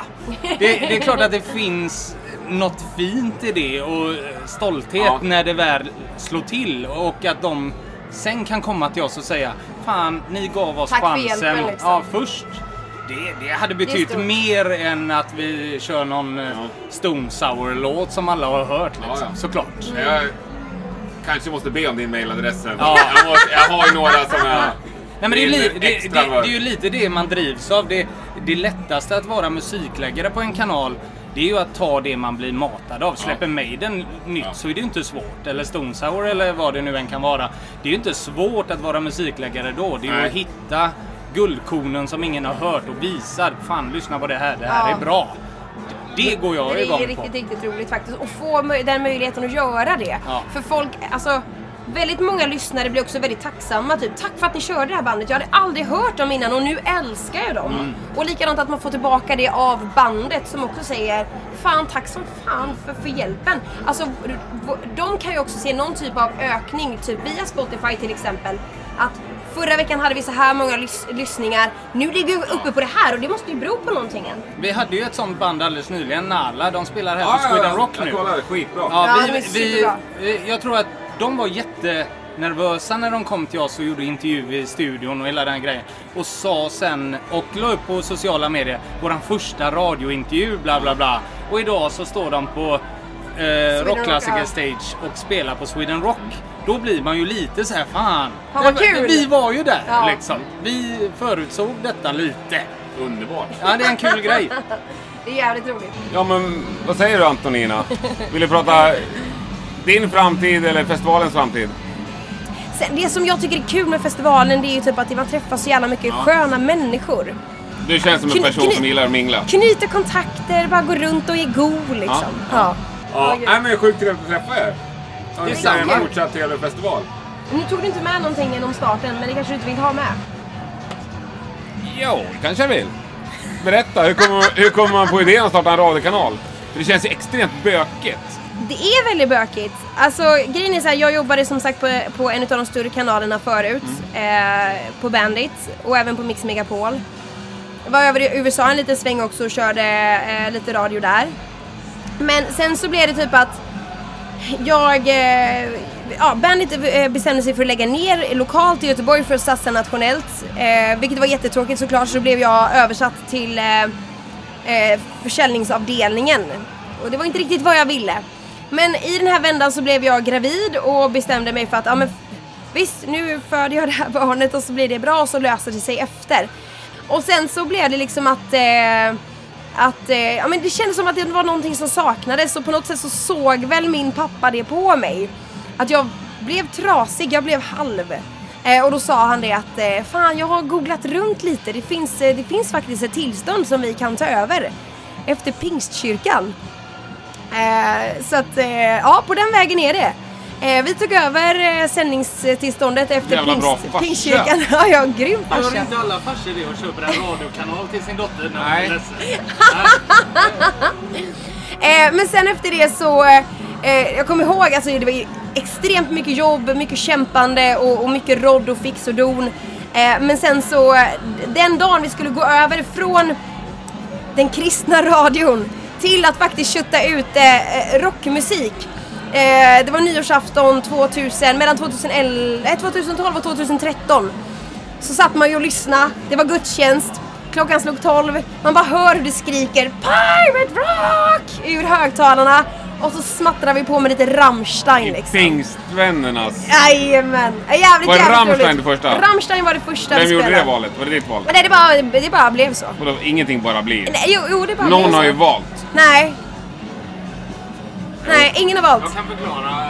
Det, det är klart att det finns något fint i det och eh, stolthet Ja. när det väl slår till och att de sen kan komma till oss och säga Fan, ni gav oss Tack för chansen. hjälpen, liksom. ja, först. Det, det hade Det är betytt stort. mer än att vi kör någon ja. Stone Sour-låt som alla har hört. Liksom. Såklart. Mm. Jag kanske måste be om din mailadress sen. Ja. Jag, måste, jag har ju några som jag... Nej, men det, är li, det, det, extra det är ju lite det man drivs av. Det, det lättaste att vara musikläggare på en kanal det är ju att ta det man blir matad av. Släpper Maiden nytt så är det ju inte svårt. Eller Stone Sour eller vad det nu än kan vara. Det är ju inte svårt att vara musikläggare då. Det är ju Nej. att hitta guldkornen som ingen har hört och visar. Fan, lyssna på det här. Det här Ja. är bra. Det går jag det är igång ju på. riktigt, riktigt roligt faktiskt. Och få mö- den möjligheten att göra det. Ja. För folk, alltså Väldigt många lyssnare blir också väldigt tacksamma. Typ, tack för att ni körde det här bandet. Jag hade aldrig hört dem innan och nu älskar jag dem. Mm. Och likadant att man får tillbaka det av bandet som också säger Fan, tack som fan för, för hjälpen. Alltså, v- v- de kan ju också se någon typ av ökning, typ via Spotify till exempel. Att förra veckan hade vi så här många lys- lyssningar. Nu ligger vi uppe på det här och det måste ju bero på någonting. Vi hade ju ett sånt band alldeles nyligen, Nala. De spelar här Ja, på ja, Sweden ja. Rock Jag nu. kollade, skitbra. Ja, Ja, de vi, är vi, superbra. eh, jag tror att de var jättenervösa när de kom till oss och gjorde intervju i studion och hela den grejen. Och sa sen, och la upp på sociala medier, våran första radiointervju bla bla bla. Och idag så står de på eh, Rock, Rockklassiker ja. Stage och spelar på Sweden Rock. Då blir man ju lite så här, fan. Fan, vad det var- kul." Vi var ju där Ja. liksom. Vi förutsåg detta lite. Underbart. Ja, det är en kul grej. Det är jävligt roligt. Ja, men vad säger du Antonina? Vill du prata din framtid eller festivalens framtid? Sen, det som jag tycker är kul med festivalen det är ju typ att man träffar så jävla mycket Ja. sköna människor. Du känns som en Kny- person som kny- gillar att mingla. Knyter kontakter, bara går runt och är god liksom. Ja. Ja. Ja, nej, men sjukt trevligt att träffa er. Det är Önskar er en samma. fortsatt trevlig festival. Nu tog du inte med någonting om starten men det kanske du inte vill ha med? Jo, det kanske jag vill. Berätta, hur kommer, hur kommer man på idén att starta en radiokanal? För det känns ju extremt bökigt. Det är väldigt bökigt. Alltså grejen är så här, jag jobbade som sagt på, på en av de större kanalerna förut. Eh, på Bandit och även på Mix Megapol. Jag var över i USA en liten sväng också och körde eh, lite radio där. Men sen så blev det typ att jag... Eh, ja, bandet eh, bestämde sig för att lägga ner lokalt i Göteborg för att satsa nationellt. Eh, vilket var jättetråkigt såklart så då blev jag översatt till eh, eh, försäljningsavdelningen. Och det var inte riktigt vad jag ville. Men i den här vändan så blev jag gravid och bestämde mig för att ja, men Visst, nu föder jag det här barnet och så blir det bra och så löser det sig efter. Och sen så blev det liksom att, eh, att eh, ja, men det kändes som att det var någonting som saknades och på något sätt så såg väl min pappa det på mig. Att jag blev trasig, jag blev halv. Eh, och då sa han det att eh, fan jag har googlat runt lite, det finns, eh, det finns faktiskt ett tillstånd som vi kan ta över efter pingstkyrkan. Eh, så att eh, ja, på den vägen är det. Eh, vi tog över eh, sändningstillståndet efter Jävla bra farsa. pingstkyrkan. Ja, ja, grym Gör farsa. inte alla farsor det och köper en radiokanal till sin dotter? Nej. Eh, men sen efter det så, eh, jag kommer ihåg, alltså det var ju extremt mycket jobb, mycket kämpande och, och mycket rodd och fix och don. Eh, men sen så, eh, den dagen vi skulle gå över från den kristna radion till att faktiskt kötta ut eh, eh, rockmusik. Eh, det var nyårsafton 2000, mellan 2011, eh, 2012 och 2013. Så satt man ju och lyssnade, det var gudstjänst, klockan slog 12, man bara hör hur det skriker Pirate Rock! ur högtalarna och så smattrar vi på med lite Rammstein liksom. Pingstvännernas. Jajamän! Jävligt, Var det jävligt Rammstein roligt. det första? Rammstein var det första Vem vi gjorde det spelade. valet? Var det ditt val? Men nej, det bara, det bara blev så. Vadå, ingenting bara blir? Nej, jo, jo, det bara blev Någon så. har ju valt. Nej. Nej, ingen har valt. kan förklara.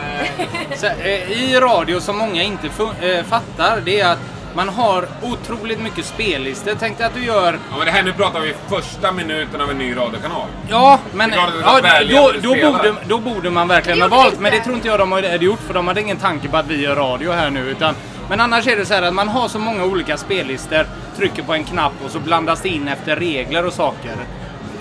Så, eh, I radio som många inte fu- eh, fattar det är att man har otroligt mycket spellistor. Tänk dig att du gör... Ja, men det här nu pratar vi första minuten av en ny radiokanal. Ja, men Det är klart att det ja, var välja då, att då, spela. borde, då borde man verkligen ha valt. Men det tror inte jag de hade gjort för de hade ingen tanke på att vi gör radio här nu. Utan, men annars är det så här att man har så många olika spellistor, trycker på en knapp och så blandas det in efter regler och saker.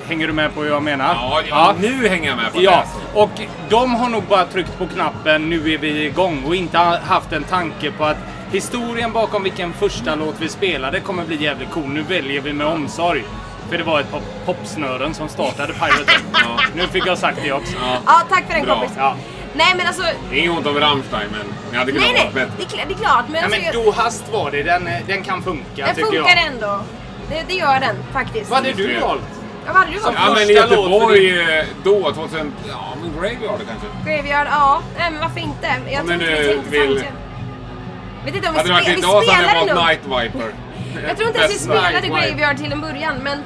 Hänger du med på vad jag menar? Ja, ja, nu hänger jag med på det. Ja, Alltså. och de har nog bara tryckt på knappen nu är vi igång och inte ha- haft en tanke på att historien bakom vilken första låt vi spelade kommer bli jävligt cool. Nu väljer vi med omsorg. För det var ett par popsnören som startade Pirate Rock. Nu fick jag sagt det också. Ja, tack för den Bra. kompis. Ja. Nej men alltså, Det är inget ont om Rammstein, men ni hade kunnat nej vara nej, bättre. det är, kl- det är klart. Men, Ja, alltså, men jag- Do Hast var det. Den, eh, den kan funka den tycker funkar jag. ändå. Det, det gör den faktiskt. Vad hade du valt? Ja, vad hade du valt? Ja, men i första låt för Göteborg eh, då, 2000... Ja, men Graveyard kanske? Graveyard, ja. Nej men varför inte? Jag Om tror du inte vi tänkte eh, vill- tanken. Vet inte om vi, Hade det spe, varit vi idag så hade spelade nog. jag valt Night Viper. Jag tror inte ens vi Bäst spelade Night Viper. Graveyard till en början men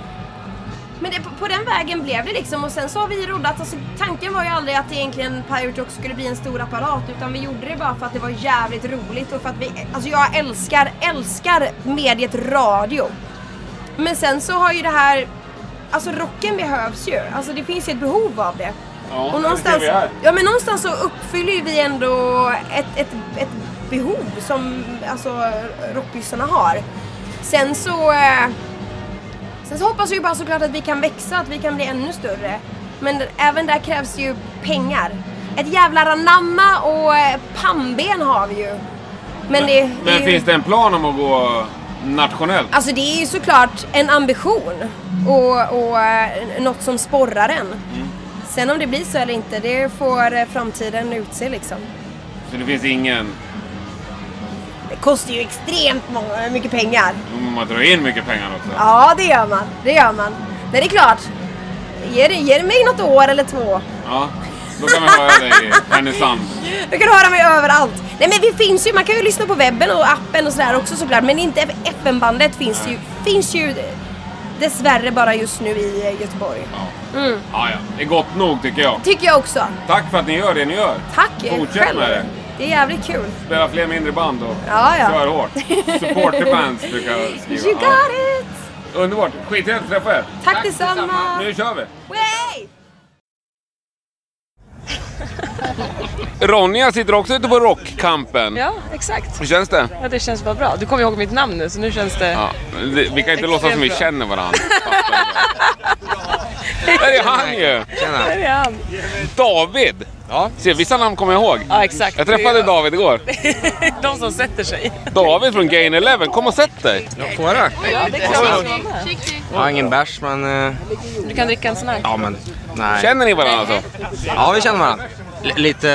men det, på, på den vägen blev det liksom och sen så har vi roddat. Alltså, tanken var ju aldrig att egentligen Pirate Rock skulle bli en stor apparat utan vi gjorde det bara för att det var jävligt roligt och för att vi, alltså jag älskar, älskar mediet radio. Men sen så har ju det här alltså rocken behövs ju. Alltså det finns ju ett behov av det. Ja, det och någonstans, ser vi här. ja, men någonstans så uppfyller ju vi ändå ett, ett, ett behov som alltså, rockbyssarna har. Sen så, eh, sen så hoppas vi ju bara såklart att vi kan växa, att vi kan bli ännu större. Men även där krävs ju pengar. Ett jävla ranamma och eh, pannben har vi ju. Men, det, det är Men ju- finns det en plan om att gå nationellt? Alltså det är ju såklart en ambition och, och eh, något som sporrar en. Sen om det blir så eller inte, det får eh, framtiden utse liksom. Så det finns ingen... Det kostar ju extremt många, mycket pengar. Man drar in mycket pengar också. Ja, det gör man. Det gör man. Men det är klart, ge, det- ge det mig något år eller två. Ja, då kan man höra dig i Härnösand. Du kan höra mig överallt. Nej men vi finns ju, man kan ju lyssna på webben och appen och sådär också såklart. Men inte FN-bandet finns ju, finns ju dessvärre bara just nu i eh, Göteborg. Mm. Ja, ja. Det är gott nog tycker jag. Tycker jag också. Tack för att ni gör det ni gör. Tack eh, Fortsätt med det. Det är jävligt kul. Spela fler mindre band och Ja, ja. kör hårt. Supporter bands brukar jag You skriva. got Ja. it! Underbart. Skittrevligt att träffa er. Tack, detsamma! Nu kör vi. Way! Ronja sitter också ute på rockkampen. Ja, exakt. Hur känns det? Ja, det känns bara bra. Du kommer ihåg mitt namn nu, så nu känns det... Ja, det- vi kan inte Extremt låtsas som vi bra. känner varandra. Där är han ju! Där är han. David! Ja. Se, vissa namn kommer jag ihåg. Ja, exakt. Jag träffade Det är jag. David igår. De som sätter sig. David från Gain 11, kom och sätt dig! Ja, får jag Ja, det är klart. att de är. Jag har ingen bärs, men... eh, Du kan dricka en sån här. Ja, men... Nej. Känner ni varandra alltså? Ja, vi känner varandra. L- lite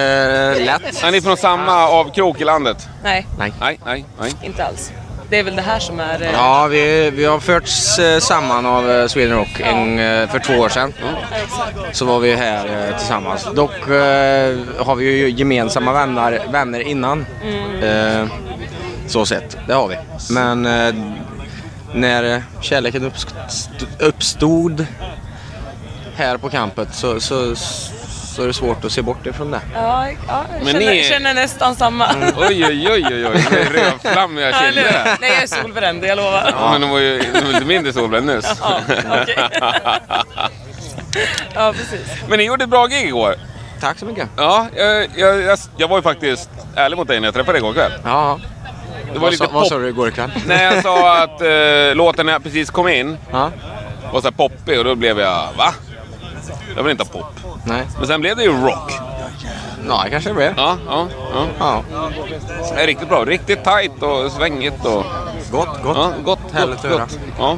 eh, lätt. Är ni från samma avkrok i landet? Nej, Nej. Nej, nej, nej. inte alls. Det är väl det här som är... eh, Ja, vi, vi har förts eh, samman av eh, Sweden Rock en, eh, för två år sedan. Så var vi här eh, tillsammans. Dock eh, har vi ju gemensamma vänner, vänner innan. Eh, så sett, det har vi. Men eh, när eh, kärleken uppst- uppstod här på campet så, så, så är det svårt att se bort ifrån det. Ja, ja jag Men känner, ni är- känner nästan samma. Mm, Oj, oj, oj, oj, oj. Det är rödflammiga Ja, eller kinder. hur? här. Nej, jag är solbränd, jag lovar. Ja, men de var ju de var lite mindre solbränd nyss. Ja, okej. Ja, precis. Men ni gjorde ett bra gig igår. Tack så mycket. Ja, jag, jag, jag, jag var ju faktiskt ärlig mot dig när jag träffade dig igår kväll. Ja. Det var Vad lite sa- vad pop. sa du igår kväll? När jag sa att eh, låten när jag precis kom in var så här poppig och då blev jag va? Jag vill inte ha pop. Nej. Men sen blev det ju rock. Ja, kanske det blev. Ja, ja, ja. Det är riktigt bra. Riktigt tight och svängigt och... Gott, gott. Ja, gott, Härligt gott, att höra. gott. Ja.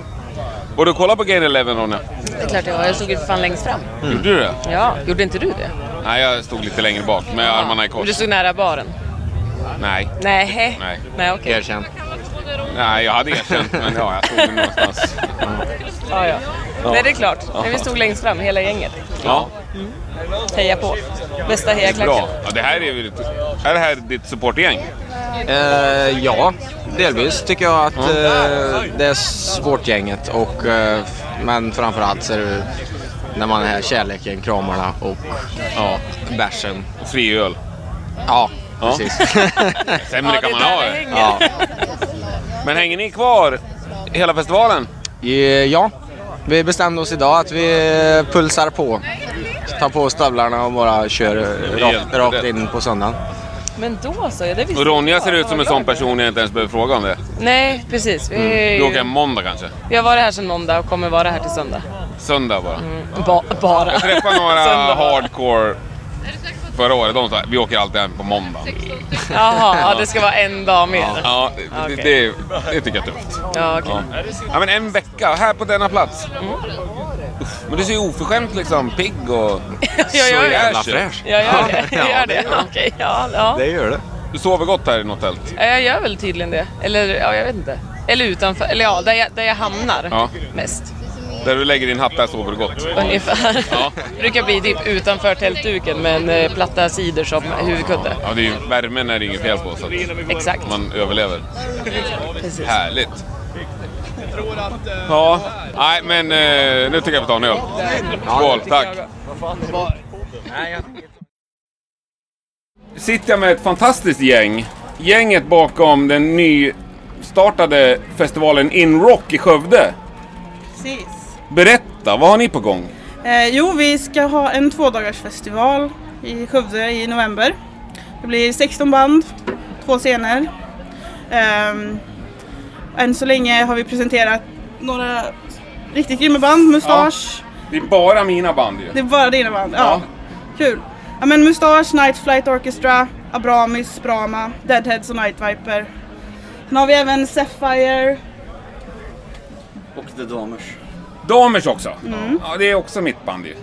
Och du kollar på Gain 11 Ronja? Det är klart jag var. Jag stod ju för fan längst fram. Mm. Gjorde du det? Ja, gjorde inte du det? Nej, jag stod lite längre bak med armarna i Men kors. du stod nära baren? Nej. Nej. Nej. Nej, okej. Erkänn. Nej, jag hade erkänt men ja, jag stod väl någonstans. Ah, Ja, ja. Ja. Nej, det är klart. Ja. Men vi stod längst fram, hela gänget. Ja, Heja på. Bästa bra. hejaklacken. Ja, det här är, ju ditt, är det här ditt supportgäng? Eh, ja, delvis tycker jag att Mm. eh, det är svårt gänget. Och, eh, men framförallt så är det när man är här, kärleken, kramarna och ja, bärsen. Och friöl. Ja, Ja. precis. Sämre Ja, kan det är man där ha det det. hänger. Ja. Men hänger ni kvar hela festivalen? Eh, ja, vi bestämde oss idag att vi pulsar på. Tar på stövlarna och bara kör eh, rakt, Helt rakt rätt. in på söndagen. Men då så, ja, det visste Och Ronja inte ser jag. ut som en sån person jag inte ens behöver fråga om det. Nej, precis. Vi, Mm. Du åker hem måndag kanske? vi har varit här sedan måndag och kommer vara här till söndag. Söndag bara? Ba- bara. Jag träffade några Mm. Söndag. hardcore förra året. De sa vi åker alltid hem på måndag. Jaha, ja, det ska vara en dag mer. Ja, ja det, Okej. det, det tycker jag är tufft. Ja, okej. Ja. ja, men en vecka här på denna plats. Uff, Men du ser ju oförskämt liksom pigg och... Jag gör så det. jävla Jag gör det. Jag gör det. Okej, ja. ja. gör det. Du sover gott här i något tält? Ja, Jag gör väl tydligen det. Eller ja, jag vet inte. Eller utanför. Eller ja, där jag, där jag hamnar Ja. mest. Där du lägger din hatt, där sover du gott? Ungefär. Ja. brukar bli typ utanför tältduken med en eh, platta sidor som huvudkudde. Ja, det är ju, värmen är det inget fel på så att Exakt. man överlever. Precis. Härligt. Ja, nej men eh, nu tycker jag vi tar en öl. Skål, tack. Sitter jag med ett fantastiskt gäng. Gänget bakom den nystartade festivalen In Rock i Skövde. Precis. Berätt, berätta, vad har ni på gång? Eh, jo, vi ska ha en tvådagarsfestival i Skövde i november. Det blir 16 band, två scener. Ehm, än så länge har vi presenterat några riktigt grymma band, Mustasch. Det är bara mina band ju. Det är bara dina band, ja. Kul. Ja men Mustasch, Night Flight Orchestra, Abramis, Brahma, Deadheads och Night Viper. Sen har vi även Sapphire. Och The Damers. Damers också. Mm. Ja, det är också mitt band ju.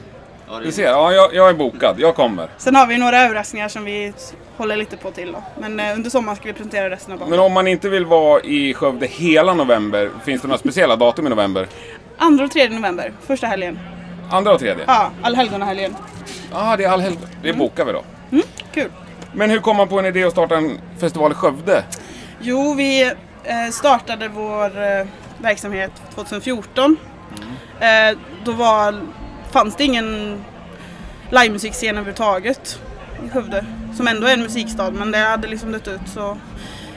Du ser, ja, jag, jag är bokad, jag kommer. Sen har vi några överraskningar som vi håller lite på till då. Men eh, under sommaren ska vi presentera resten av banden. Men om man inte vill vara i Skövde hela november, finns det några speciella datum i november? Andra och tredje november, första helgen. Andra och tredje? Ja, allhelgonahelgen. Ja, det är allhelgona. Det bokar vi då. Mm. kul. Men hur kom man på en idé att starta en festival i Skövde? Jo, vi eh, startade vår eh, verksamhet 2014. Eh, då var, fanns det ingen livemusikscen överhuvudtaget i Skövde, som ändå är en musikstad, men det hade liksom dött ut. Så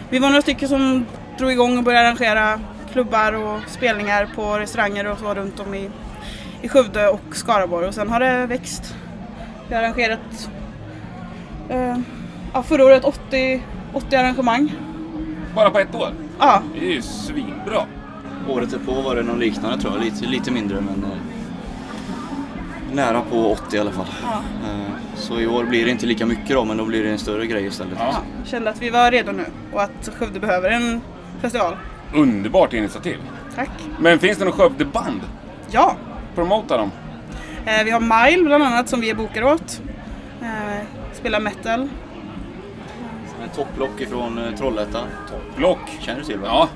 vi var några stycken som drog igång och började arrangera klubbar och spelningar på restauranger och så runt om i, i Skövde och Skaraborg och sen har det växt. Vi har arrangerat eh, ja, förra året 80, 80 arrangemang. Bara på ett år? Ja. Det är ju svinbra. Året är på var det någon liknande tror jag, lite, lite mindre men eh, nära på 80 i alla fall. Ja. Eh, så i år blir det inte lika mycket då men då blir det en större grej istället. Ja, kände att vi var redo nu och att Skövde behöver en festival. Underbart initiativ. Tack. Men finns det något Skövdeband? Ja. Promota dem. Eh, vi har Mile bland annat som vi är bokade åt. Eh, spelar metal. Sen är det Topplock ifrån eh, Trollhättan. Topplock? Känner du till va? Ja.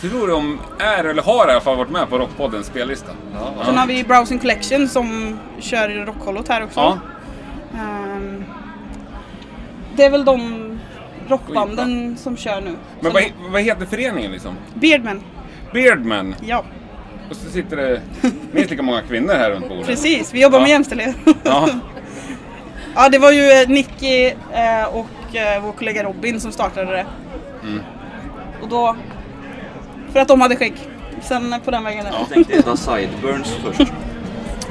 Tror de är eller har i alla fall varit med på Rockpoddens spellista? Sen har vi Browsing Collection som kör rockkollot här också. Ja. Ehm, det är väl de rockbanden som kör nu. Men Som- vad, he- vad heter föreningen liksom? Beardman. Beardman. Ja, Och så sitter det minst lika många kvinnor här runt bordet. precis. Vi jobbar Ja. med jämställdhet. Ja. ja, det var ju eh, Nicky eh, och eh, vår kollega Robin som startade det. Mm. Och då... För att de hade skägg. Sen eh, på den vägen. Jag tänkte heta Sideburns först.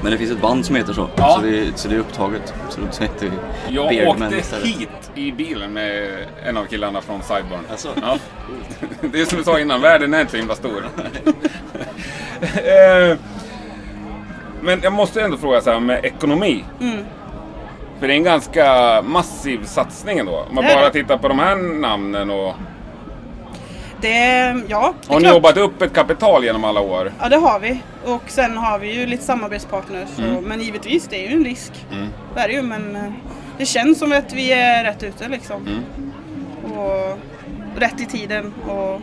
Men det finns ett band som heter så. Så, det, så det är upptaget. Så då tänkte vi Jag Beardman åkte istället. hit i bilen med en av killarna från Sideburn. Alltså, Ja. Det är som du sa innan, världen är inte så himla stor. Eh, Men jag måste ändå fråga så här med ekonomi. Mm. För det är en ganska massiv satsning ändå. Om man Det är bara det. tittar på de här namnen och... Det, ja, det Har är ni klart. jobbat upp ett kapital genom alla år? Ja, det har vi. Och sen har vi ju lite samarbetspartners. och- Mm. Men givetvis, det är ju en risk. Det är det ju, men eh, det känns som att vi är rätt ute liksom. Mm. Och rätt i tiden. Och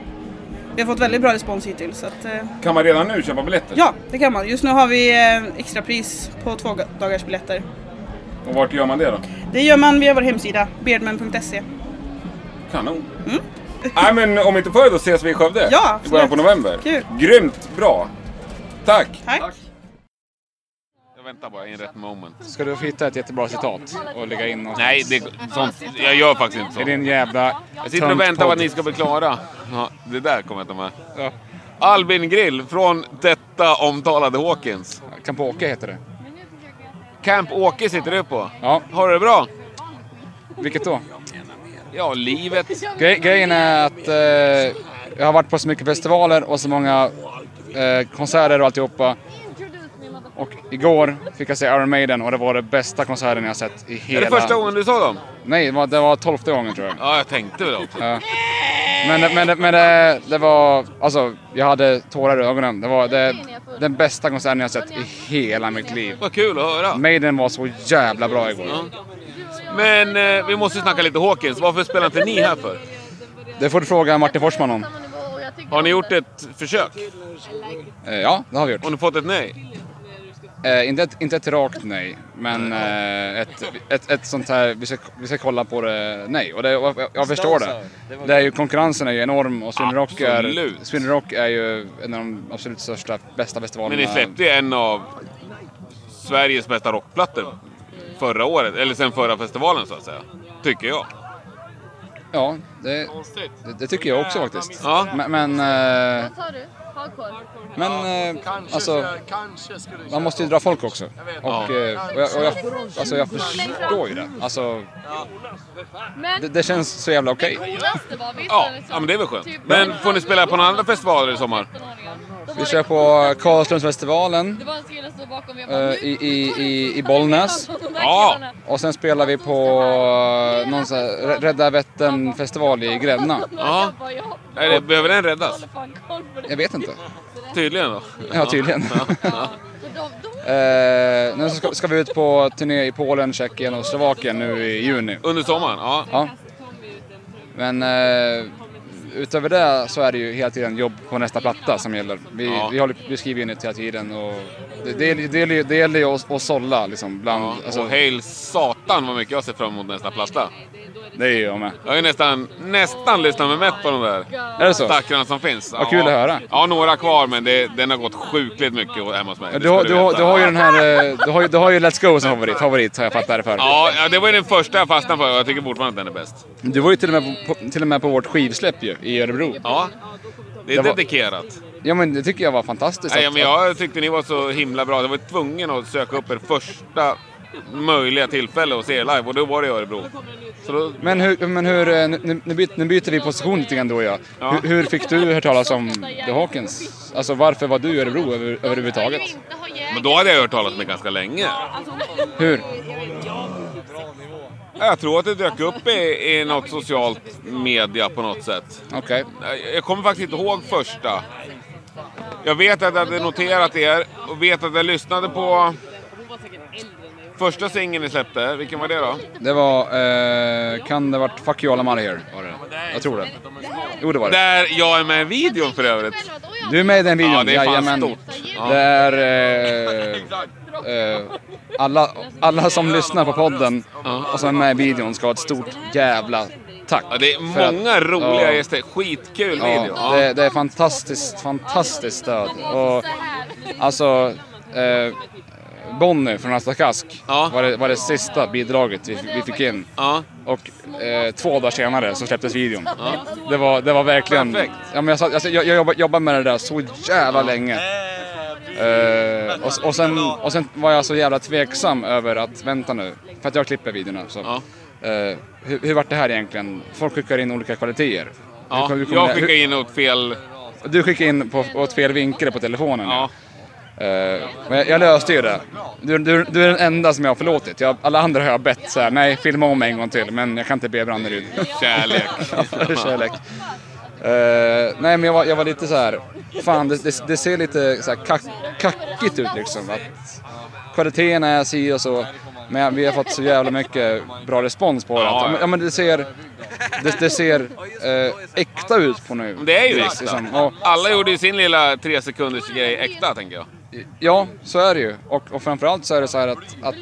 vi har fått väldigt bra respons hittills. Så att, eh, Kan man redan nu köpa biljetter? ja, det kan man. Just nu har vi eh, extrapris på två dagars biljetter. Och vart gör man det då? Det gör man via vår hemsida, beardman.se. Kanon. Nej men om inte förr då ses vi i Skövde. Mm. Ja, absolut. I början på november. Kul. Grymt bra. Tack. Tack. Jag väntar bara in rätt moment. Ska du hitta ett jättebra citat och lägga in något? Nej, det, sånt, jag gör faktiskt inte I sånt. din jävla Jag sitter och väntar på att ni ska bli klara. Ja, det där kommer jag ta med. Albin Grill från detta omtalade Hawkins. Camp Åke heter det. Camp Åke sitter du på. Ja. Har du det bra? Vilket då? Ja, livet. Gre- grejen är att eh, jag har varit på så mycket festivaler och så många eh, konserter och alltihopa. Och igår fick jag se Iron Maiden och det var det bästa konserten jag har sett i Är hela... det första gången du såg dem? Nej, det var, det var tolfte gången tror jag. Ja, jag tänkte väl också. Ja. Men, det- men, det- men det, det var... Alltså, jag hade tårar i ögonen. Det var det, den bästa konserten jag har sett i hela mitt liv. Vad kul att höra. Maiden var så jävla bra igår. Men eh, vi måste snacka lite Hawkins. Varför spelar inte ni här för? Det får du fråga Martin Forsman om. Har ni gjort ett försök? Eh, Ja, det har vi gjort. Har ni fått ett nej? Eh, inte, ett, inte ett rakt nej, men eh, ett, ett, ett sånt här, vi ska, vi ska kolla på det, nej. Och det, och jag, jag förstår det. det är ju, konkurrensen är ju enorm och Sweden Rock, är, Absolut. Sweden Rock är ju en av de absolut största, bästa festivalerna. Men ni släppte ju en av Sveriges bästa rockplattor förra året, eller sen förra festivalen så att säga. Tycker jag. Ja, det, det, det tycker jag också faktiskt. Men, men, eh, Vad sa du? Hardcore? men eh, alltså, man måste ju dra folk också. Och, eh, och, jag, och jag, alltså, jag förstår ju det. Alltså, Men det, det känns så jävla okej. coolaste var visst Ja, är det så? ja, men det är väl skönt. Typ- Men får ni spela på några andra festivaler i sommar? Vi kör på Karlslundsfestivalen Det var en kille som stod bakom mig och bara, eh, i, i, i, i Bollnäs. Ja. Och sen spelar vi på eh, någon sån här Rädda Vättern-festival i Grävna. Ja. Nej, det, behöver den räddas? Jag vet inte. Tydligen då. Ja, tydligen. Ja. Eh, nu ska, ska vi ut på turné i Polen, Tjeckien och Slovakien nu i juni. Under sommaren? Ja. Men eh, utöver det så är det ju hela tiden jobb på nästa platta som gäller. Vi, Ja. vi, håller, vi skriver ju nytt hela tiden och det, det, gäller- det, gäller- det gäller ju att, att sålla liksom. Bland, Ja, alltså, och hail satan vad mycket jag ser fram emot nästa platta. Det är jag med. Jag har ju nästan, nästan lyssnat med mätt på de där Är det så? stackarna som finns. Vad kul att höra. Ja, några kvar men det, den har gått sjukligt mycket hemma hos mig. Ja, Det Du, har- ska du, har- veta. du har ju den här, eh, du har, ju- du har ju Let's Go som favorit, favorit har jag fattat det för. Ja, ja, det var ju den första jag fastnade för och jag tycker fortfarande att den är bäst. Du var ju till och med på, på, till och med på vårt skivsläpp ju, i Örebro. Ja, det Det är var- dedikerat. Ja men det tycker jag var fantastiskt. Nej, att- men jag tyckte ni var så himla bra. Jag var tvungen att söka upp er första möjliga tillfälle och se er live och då var det i Örebro. Så då, Men hur, men hur eh, nu, nu, byter, nu byter vi position lite grann då ja. Hur, hur fick du höra talas om The Hawkins? Alltså varför var du i Örebro över, överhuvudtaget? men då hade jag hört talas om det ganska länge. alltså, Hur? Jag tror att det dök upp i, i något socialt media på något sätt. Okej. Jag- Jag kommer faktiskt inte ihåg första. Jag vet att jag hade noterat er och vet att jag lyssnade på första singeln ni släppte. Vilken var det då? Det var, eh, kan det ha varit Fuck You All I'm Outta Here? Var det. Jag tror det. Jo det var det. Där jag är med i videon för övrigt. Du är med i den videon, Ja, det är fan jajamän. stort. Ja. Det är... Eh, eh, alla, alla som lyssnar på podden och som är med i videon ska ha ett stort jävla tack. Ja, det är för att- många roliga ja. gäster. Skitkul video. Ja, det, det är fantastiskt, fantastiskt stöd. Och, alltså, eh, Bonnie från Asta Kask var, det, var det sista bidraget vi, vi fick in. Och eh, två dagar senare så släpptes videon. Det, var, det var verkligen... Perfekt. Ja, men jag, satt- alltså, jag, jag jobbade, jobbade med det där så jävla länge. Eh, och, och, sen, och sen var jag så jävla tveksam över att, vänta nu, för att jag klipper videorna. Så, eh, hur, hur vart det här egentligen? Folk skickar in olika kvaliteter. Hur Ja, kom- hur kom det- jag hur- skickade in åt fel... du skickade in på, åt fel vinkel på telefonen. Ja. Eh, men jag, jag löste ju det. Du, du, du är den enda som jag har förlåtit. Jag, alla andra har jag bett så här, nej filma om en gång till men jag kan inte be Branneryd. Kärlek. ja, för kärlek. Eh, nej men jag var, jag var lite så här, fan det, det, det ser lite så här kack, kackigt ut liksom. Att kvaliteten är si och så. Men vi har fått så jävla mycket bra respons på det. Ja, Att, ja. ja, men- ja men det ser, det, det ser eh, äkta ut på nu. Det är ju Liksom. äkta. Och- Alla gjorde ju sin lilla tre sekunders grej äkta, tänker jag. Ja, så är det ju. Och, och framförallt så är det så här att, att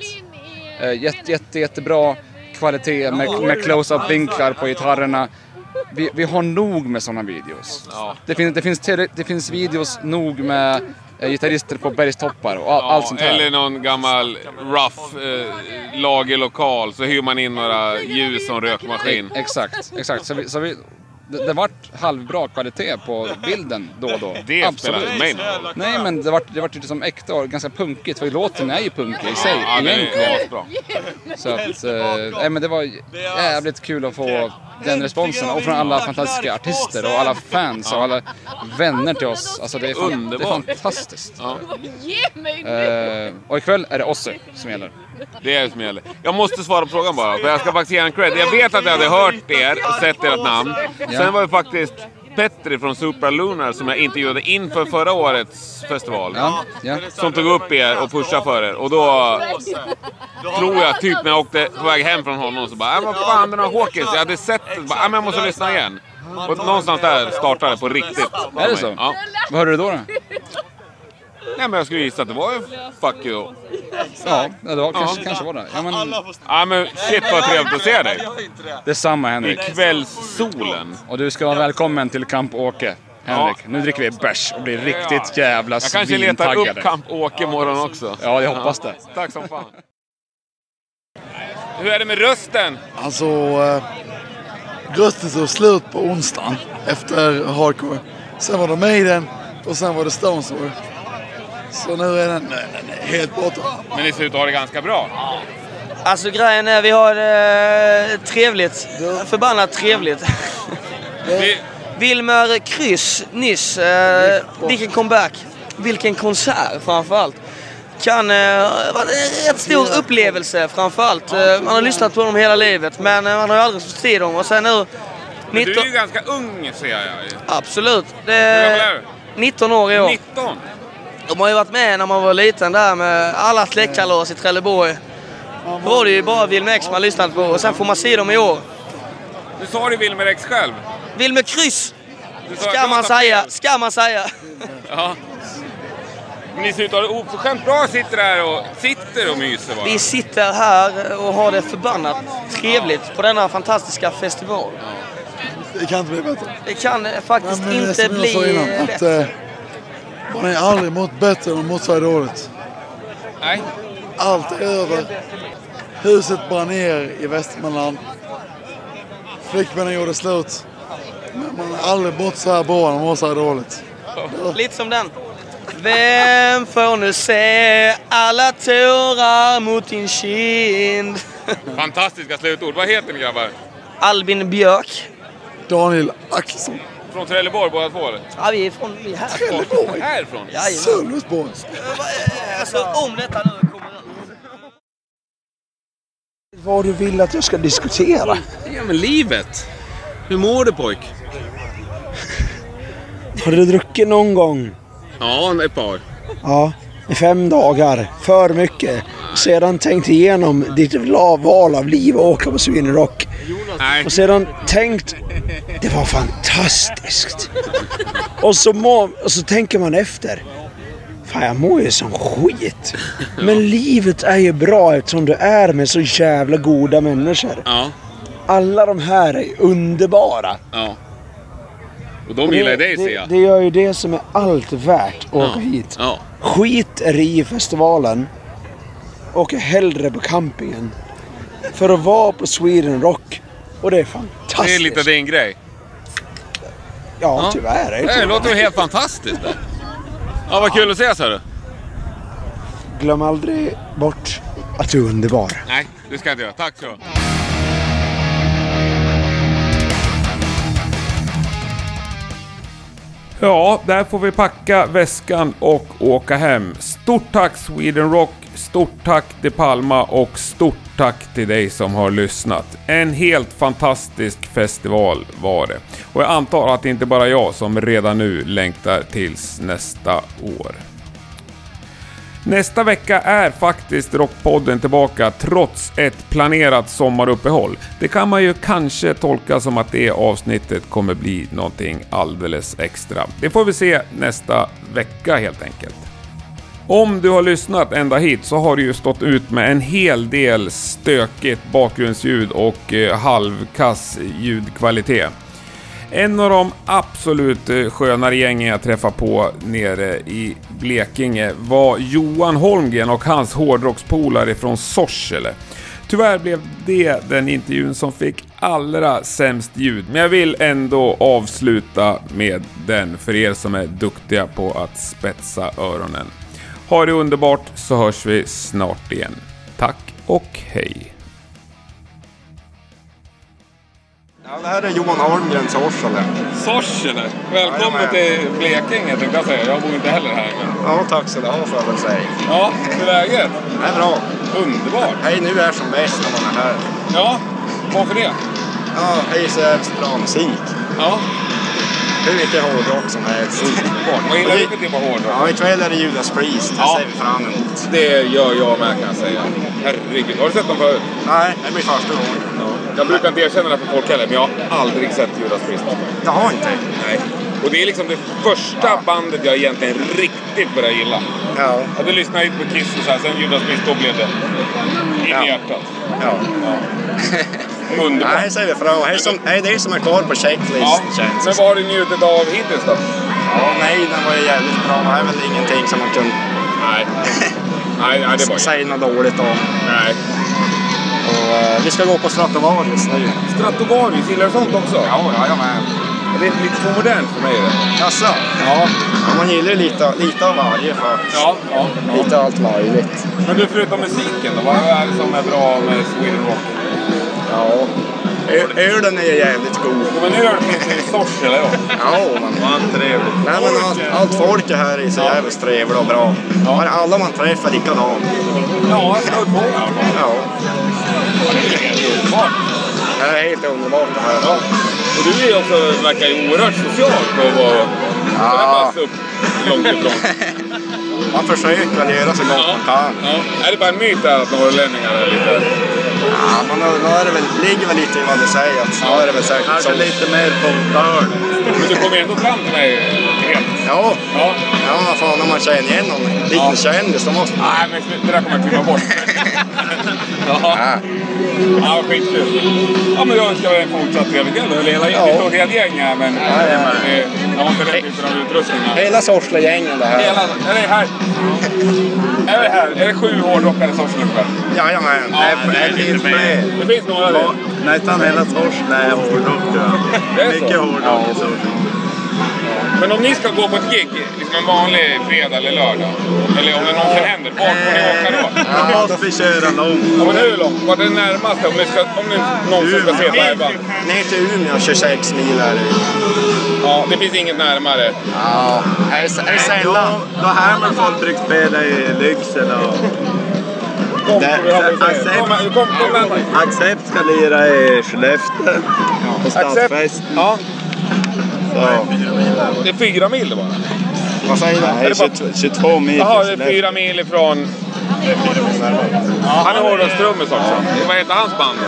eh, jätte, jätte, jättebra kvalitet med, med close-up-vinklar på gitarrerna. Vi, vi har nog med sådana videos. Det, finns det, finns tillräck- det finns videos nog med eh, gitarrister på bergstoppar och all, allt sånt Eller här. någon gammal rough eh, lagerlokal så hyr man in några ljus och en rökmaskin. E- Exakt, exakt. Så vi, så vi, det, det vart halvbra kvalitet på bilden då och då. Det spelar inte mig någon roll. Nej, men det vart, det vart ju liksom äkta och ganska punkigt. För låten är ju punkig i sig Ja, den är egentligen. asbra. Så att, eh, nej, men det var jävligt kul att få den responsen och från alla fantastiska artister och alla fans och alla vänner till oss. Alltså det är, fan, det är Underbart. fantastiskt. Ge mig nu! Eh, och ikväll är det Ossi som gäller. Det är det som gäller. Jag måste svara på frågan bara, för jag ska faktiskt ge en cred. Jag vet att jag hade hört er och sett ert namn. Sen var det faktiskt Petri från Supralunar som jag intervjuade inför förra årets festival. Ja, ja. Som tog upp er och pushade för er. Och då tror jag typ när jag åkte på väg hem från honom så bara, "Äh, vad fan den har Hawkins, jag hade sett det. Så Bara, "Äh, men jag måste lyssna igen. Och någonstans där startade det på riktigt. Är det så? Ja. Vad hörde du då? då? Nej men jag skulle gissa att det var ju fuck you. Ja, det var, kanske, kanske var det. Ja, men, Ja men shit vad trevligt att se dig. detsamma Henrik. I kvällssolen. Och du ska vara välkommen till Kamp Åke. Henrik, nu dricker vi bärs och blir riktigt jävla Jag kanske letar upp svintaggade. Kamp Åke imorgon också. Ja, jag hoppas det. Tack som fan. Hur är det med rösten? Alltså, eh, Röstet tog slut på onsdagen efter hardcore. Sen var det Maiden och sen var det Stones år. Så nu är den, nej, den är helt borta. Men ni ser ut att ha det ganska bra. Alltså grejen är vi har eh, trevligt. Förbannat trevligt. Wilmer Kryss nyss. Eh, vilken comeback. Vilken konsert framförallt. Kan eh, vara en rätt stor upplevelse framförallt. Eh, man har lyssnat på dem hela livet men eh, man har ju aldrig fått se dem. Och sen nu... Men du 19... är ju ganska ung ser jag. ju. Absolut. Det Hur gammal är du? 19 år i år. 19? De har ju varit med när man var liten där med alla släktkalas i Trelleborg. Då var det ju bara Wilmer X man lyssnade på och sen får man se dem i år. Du sa det Wilmer X själv. Wilmer Kryss! Du sa- Ska du man sa säga, fel. ska man säga. Ja. Ni ser ut att ha det oförskämt bra sitter där och sitter och myser bara. Vi sitter här och har det förbannat trevligt på denna fantastiska festival. Det kan inte bli bättre. Det kan faktiskt Men det är inte som jag sa bli innan, att bättre. eh, man har aldrig mått bättre än man mått förra året. Nej. Allt är över. Huset brann ner i Västmanland. Flickvännen gjorde slut. Men man har aldrig mått så här bra när man mår så här dåligt. Lite som den. Vem får nu se alla tårar mot din kind? Fantastiska slutord. Vad heter ni grabbar? Albin Björk. Daniel Axelsson. Från Trelleborg båda två eller? Ja, vi är från... Vi är här. Trelleborg? Härifrån? Sölvesborg. Alltså, om detta nu kommer... Vad du vill att jag ska diskutera. Ja, men livet. Hur mår du pojk? Har du druckit någon gång? Ja, ett par. Ja, i fem dagar. För mycket. Sedan tänkt igenom ditt la- val av liv och åka på svinrock. Och sedan tänkt, det var fantastiskt. Och så, må, och så tänker man efter. Fan, jag mår ju som skit. Men livet är ju bra eftersom du är med så jävla goda människor. Ja. Alla de här är underbara. Ja. Och de gillar ju dig ser det, jag. det gör ju det som är allt värt att åka Ja. hit. Ja. Skit är i festivalen. Åker hellre på campingen. För att vara på Sweden Rock. Och det är fantastiskt. Det är lite din grej. Ja, tyvärr. Det är Det klart. låter ju helt fantastiskt. Där. Ja, vad kul att ses hörru. Glöm aldrig bort att du är underbar. Nej, det ska jag inte göra. Tack så mycket. Ja, där får vi packa väskan och åka hem. Stort tack Sweden Rock, stort tack till Palma och stort tack till dig som har lyssnat. En helt fantastisk festival var det. Och jag antar att det inte bara är jag som redan nu längtar tills nästa år. Nästa vecka är faktiskt Rockpodden tillbaka trots ett planerat sommaruppehåll. Det kan man ju kanske tolka som att det avsnittet kommer bli någonting alldeles extra. Det får vi se nästa vecka helt enkelt. Om du har lyssnat ända hit så har du ju stått ut med en hel del stökigt bakgrundsljud och eh, halvkass ljudkvalitet. En av de absolut eh, skönare gängen jag träffade på nere i Blekinge var Johan Holmgren och hans hårdrockspolare från Sorsele. Tyvärr blev det den intervjun som fick allra sämst ljud, men jag vill ändå avsluta med den för er som är duktiga på att spetsa öronen. Ha det underbart så hörs vi snart igen. Tack och hej! Ja, det här är Johan Holmgren, Sorsele. Sorsele! Välkommen till Blekinge tänkte jag säga. Jag bor inte heller här. Men... Ja, tack så du ha får jag väl säga. Ja, hur är läget? Det är bra. Underbart! Hej nu är som bäst när man är här. Ja, varför det? Ja, hej så är det bra musik. Ja. Mm. Hur mycket hårdrock som helst. Vad gillar du för typ av hårdrock? Ja, ikväll är det Judas Priest. Det ser vi fram emot. Det gör jag med kan jag säga. Herregud, har du sett dem förut? Nej, det blir första gången. Jag brukar inte erkänna det för folk heller, men jag har aldrig sett Judas Priest. Jag har inte? Nej. Och det är liksom det första bandet jag egentligen riktigt började gilla. Ja. Jag hade lyssnat lite på Kiss och så här, sen Judas Priest, då blev det in i hjärtat. Ja. Underbart. Nej, det ser vi fram emot. Hej, som- hej, det är som är kvar på checklist Ja. känns Men vad har du njutit av hittills då? Ja, nej, den var ju jävligt bra. Det här är väl ingenting som man kunde Nej. Nej, nej, det var ju- säga något dåligt om. Nej. Och eh, vi ska gå på Stratovarius nu. Stratovarius, gillar du sånt också? Ja, jajamän. Det är lite för modernt för mig. Jaså? Ja. ja, man gillar ju lite, lite av varje faktiskt. Ja, ja, Lite allt möjligt. Men du, förutom musiken då, vad är det som är bra med Sweden Rock? Ja. Ö- Ölen är jävligt god. Ja, men öl finns det i Sorsele ja. Ja, man. Vad trevligt. Nej, men allt, allt folk är här i så jävligt trevligt och bra. Alla man träffar likadant. Ja, snudd på. Ja. Det är helt underbart det här. Och du är också, verkar ju oerhört social för att vara... Ja. upp långt ifrån. Man försöker väl göra så gott man kan. Ja. Är det bara en myt där att norrlänningar är lite... Ja, men nu, nu är det väl, ligger väl lite i vad du säger. Att nu är det väl säkert Kanske lite mer på Men du kommer ändå fram till mig helt. Ja. Ja. ja, fan om man känner igen någon liten kändis då måste man... Nej, men det där kommer jag klippa bort. Ja. Ja, vad skitkul. Ja, men jag önskar er en fortsatt trevlig kväll. Eller hela Ja. gänget. Ja. Ett gäng här, men... eh, Jag har inte rätt utan utrustningar. Hela Sorsele-gängen det här. Hela... Är det här? Är det här? Är det sju hårdrockare i Sorsele ikväll? Jajamän. Ja, det, det finns fler. Det finns några där. Nästan hela Sorsele är hårdrock tror Det är jag. så? Mycket hårdrock i Sorsele. Men om ni ska gå på ett gig, liksom en vanlig fredag eller lördag. Eller om det någonsin händer, vart får ni åka då? Ja, då får vi köra långt. Ja, men hur långt? Vart är det närmaste om ni, ska, om ni någonsin ska se ett liveband? Ner till Umeå, 26 mil är det. Ja, det finns inget närmare. Ja, är det, är det sällan? Då, då härmar folk bruksspelar i Lycksele och... Kom, Det- får vi höra vad du säger. Accept- Kom, kom, kom, Andy. Accept ska lira i Skellefteå på stadsfesten. Ja. Så. Det är fyra mil det bara? Vad säger du? Är det Nej, bara- 22, 22 mil Jaha, till det är Skellefteå. fyra mil ifrån... Han är hårdrockstrummis också. Vad heter hans band?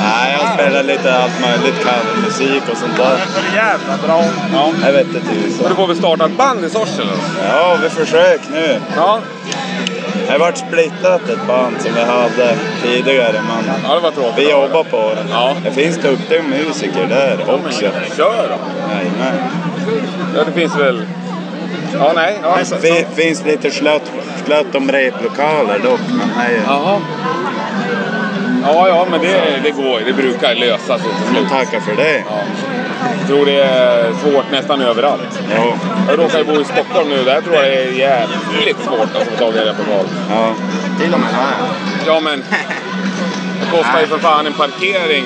Nej, jag spelar lite allt möjligt covermusik och sånt där. Jävla bra. Ja. Jag vet inte tusan. Du får väl starta ett band i Sorsele? då? Ja, vi försöker nu. Ja. Det vart splittat ett band som vi hade tidigare, men Ja, det var tråkigt. vi jobbar på det. Ja. Det finns duktiga musiker där också. Kör då! Jajamän. Ja, det finns väl... Ja, nej. Ja. Det fi- finns lite slött, slött om replokaler dock, men nej. Jaha. Ja, ja, men det, det går. Det brukar lösa sig till slut. Tackar för det. Ja. Jag tror det är svårt nästan överallt. Ja. Jag råkar ju bo i Stockholm nu. Där tror jag det är jävligt svårt alltså, att få tag i en replokal. Ja. Till och med här. Ja, men... Det kostar ju för fan en parkering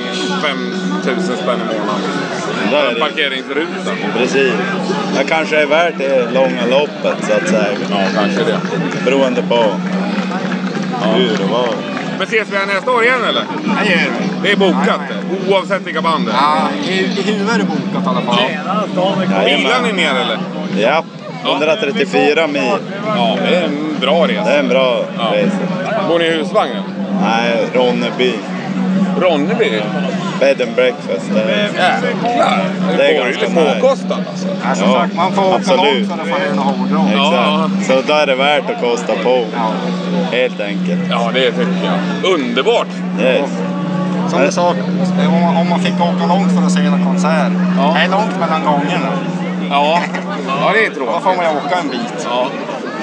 5000 spänn i månaden. En parkeringsruta. Precis. Det kanske är värt det långa loppet så att säga. Ja, kanske det. Beroende på hur och var. Men ses vi här nästa år igen eller? Det gör vi. Det är bokat oavsett vilka band det är. Ja, i, i huvudet är det bokat i alla fall. Bilar ni ner eller? Ja, 134 mil. Ja, det är en bra resa. Det är en bra resa. Bor ni i husvagnen? Nej, Ronneby. Ronneby? Bed and breakfast. Det är, Jävlar! Det är borgerligt påkostat alltså. Ja, som sagt, man får åka långt för att få höra hårdrock. Exakt. Så då är det värt att kosta på. Helt enkelt. Ja, det tycker jag. Underbart! Yes. Som du sa, om, om man fick åka långt för att se en konsert. Det är långt mellan gångerna. Ja, ja det är tråkigt. Då får man ju åka en bit. Ja.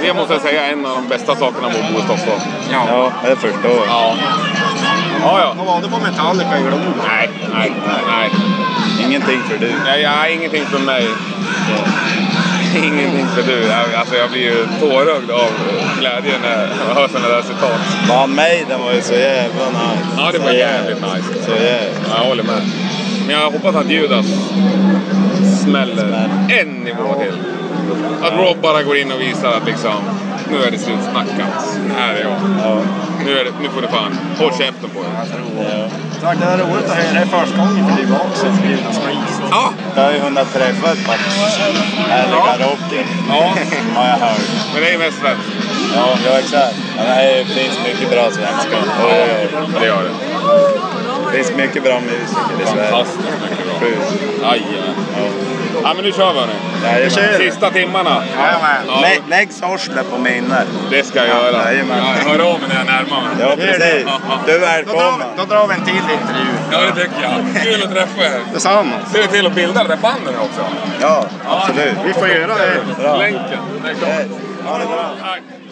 Det måste jag säga är en av de bästa sakerna med att bo i Stockholm. Ja, det förstår jag. Ja. Ja, ja. Vad var det på Metallica i Globen? Nej, nej, nej. Ingenting för du. Nej, ja, ingenting för mig. Ingenting för du. Jag- Alltså, jag blir ju tårögd av glädje när jag hör sådana där citat. Van Maiden var ju så jävla nice. Ja, det var jävligt nice. Så jävla. Ja, jag håller med. Men jag hoppas att Judas smäller en nivå till. Att Rob bara går in och visar att liksom, nu är det slutsnackat. Här är jag. Nu, är det, nu får du fan, håll käften på er. Tack, det är roligt att höra. Det är första gången för dig också. Judas Priest. Ja. Jag har ju hunnit träffa ett par härliga rocker. Ja. har jag hört. Men det är mest svenskt. Ja, ja exakt. Ja, det finns mycket bra svenskar. Oj, oj, oj. Det gör det. Det finns mycket bra musiker i Sverige. Fantastiskt mycket bra. Sjukt. Jajamän. Ja men nu kör vi hörni. Jajamän. Sista timmarna. Jajamän. Ja, Lägg, lägg Sorsele på minnet. det ska jag göra. Jajamän. Ja, Hör av mig när jag närmar mig. Ja, precis. Du är välkommen. Då drar vi en till intervju. Ja, det tycker jag. Kul att träffa er. Detsamma. Se till att bilda det där bandet nu också. Ja, absolut. Vi får göra det. Bra. Länken. Den kommer. Ha det bra. Tack.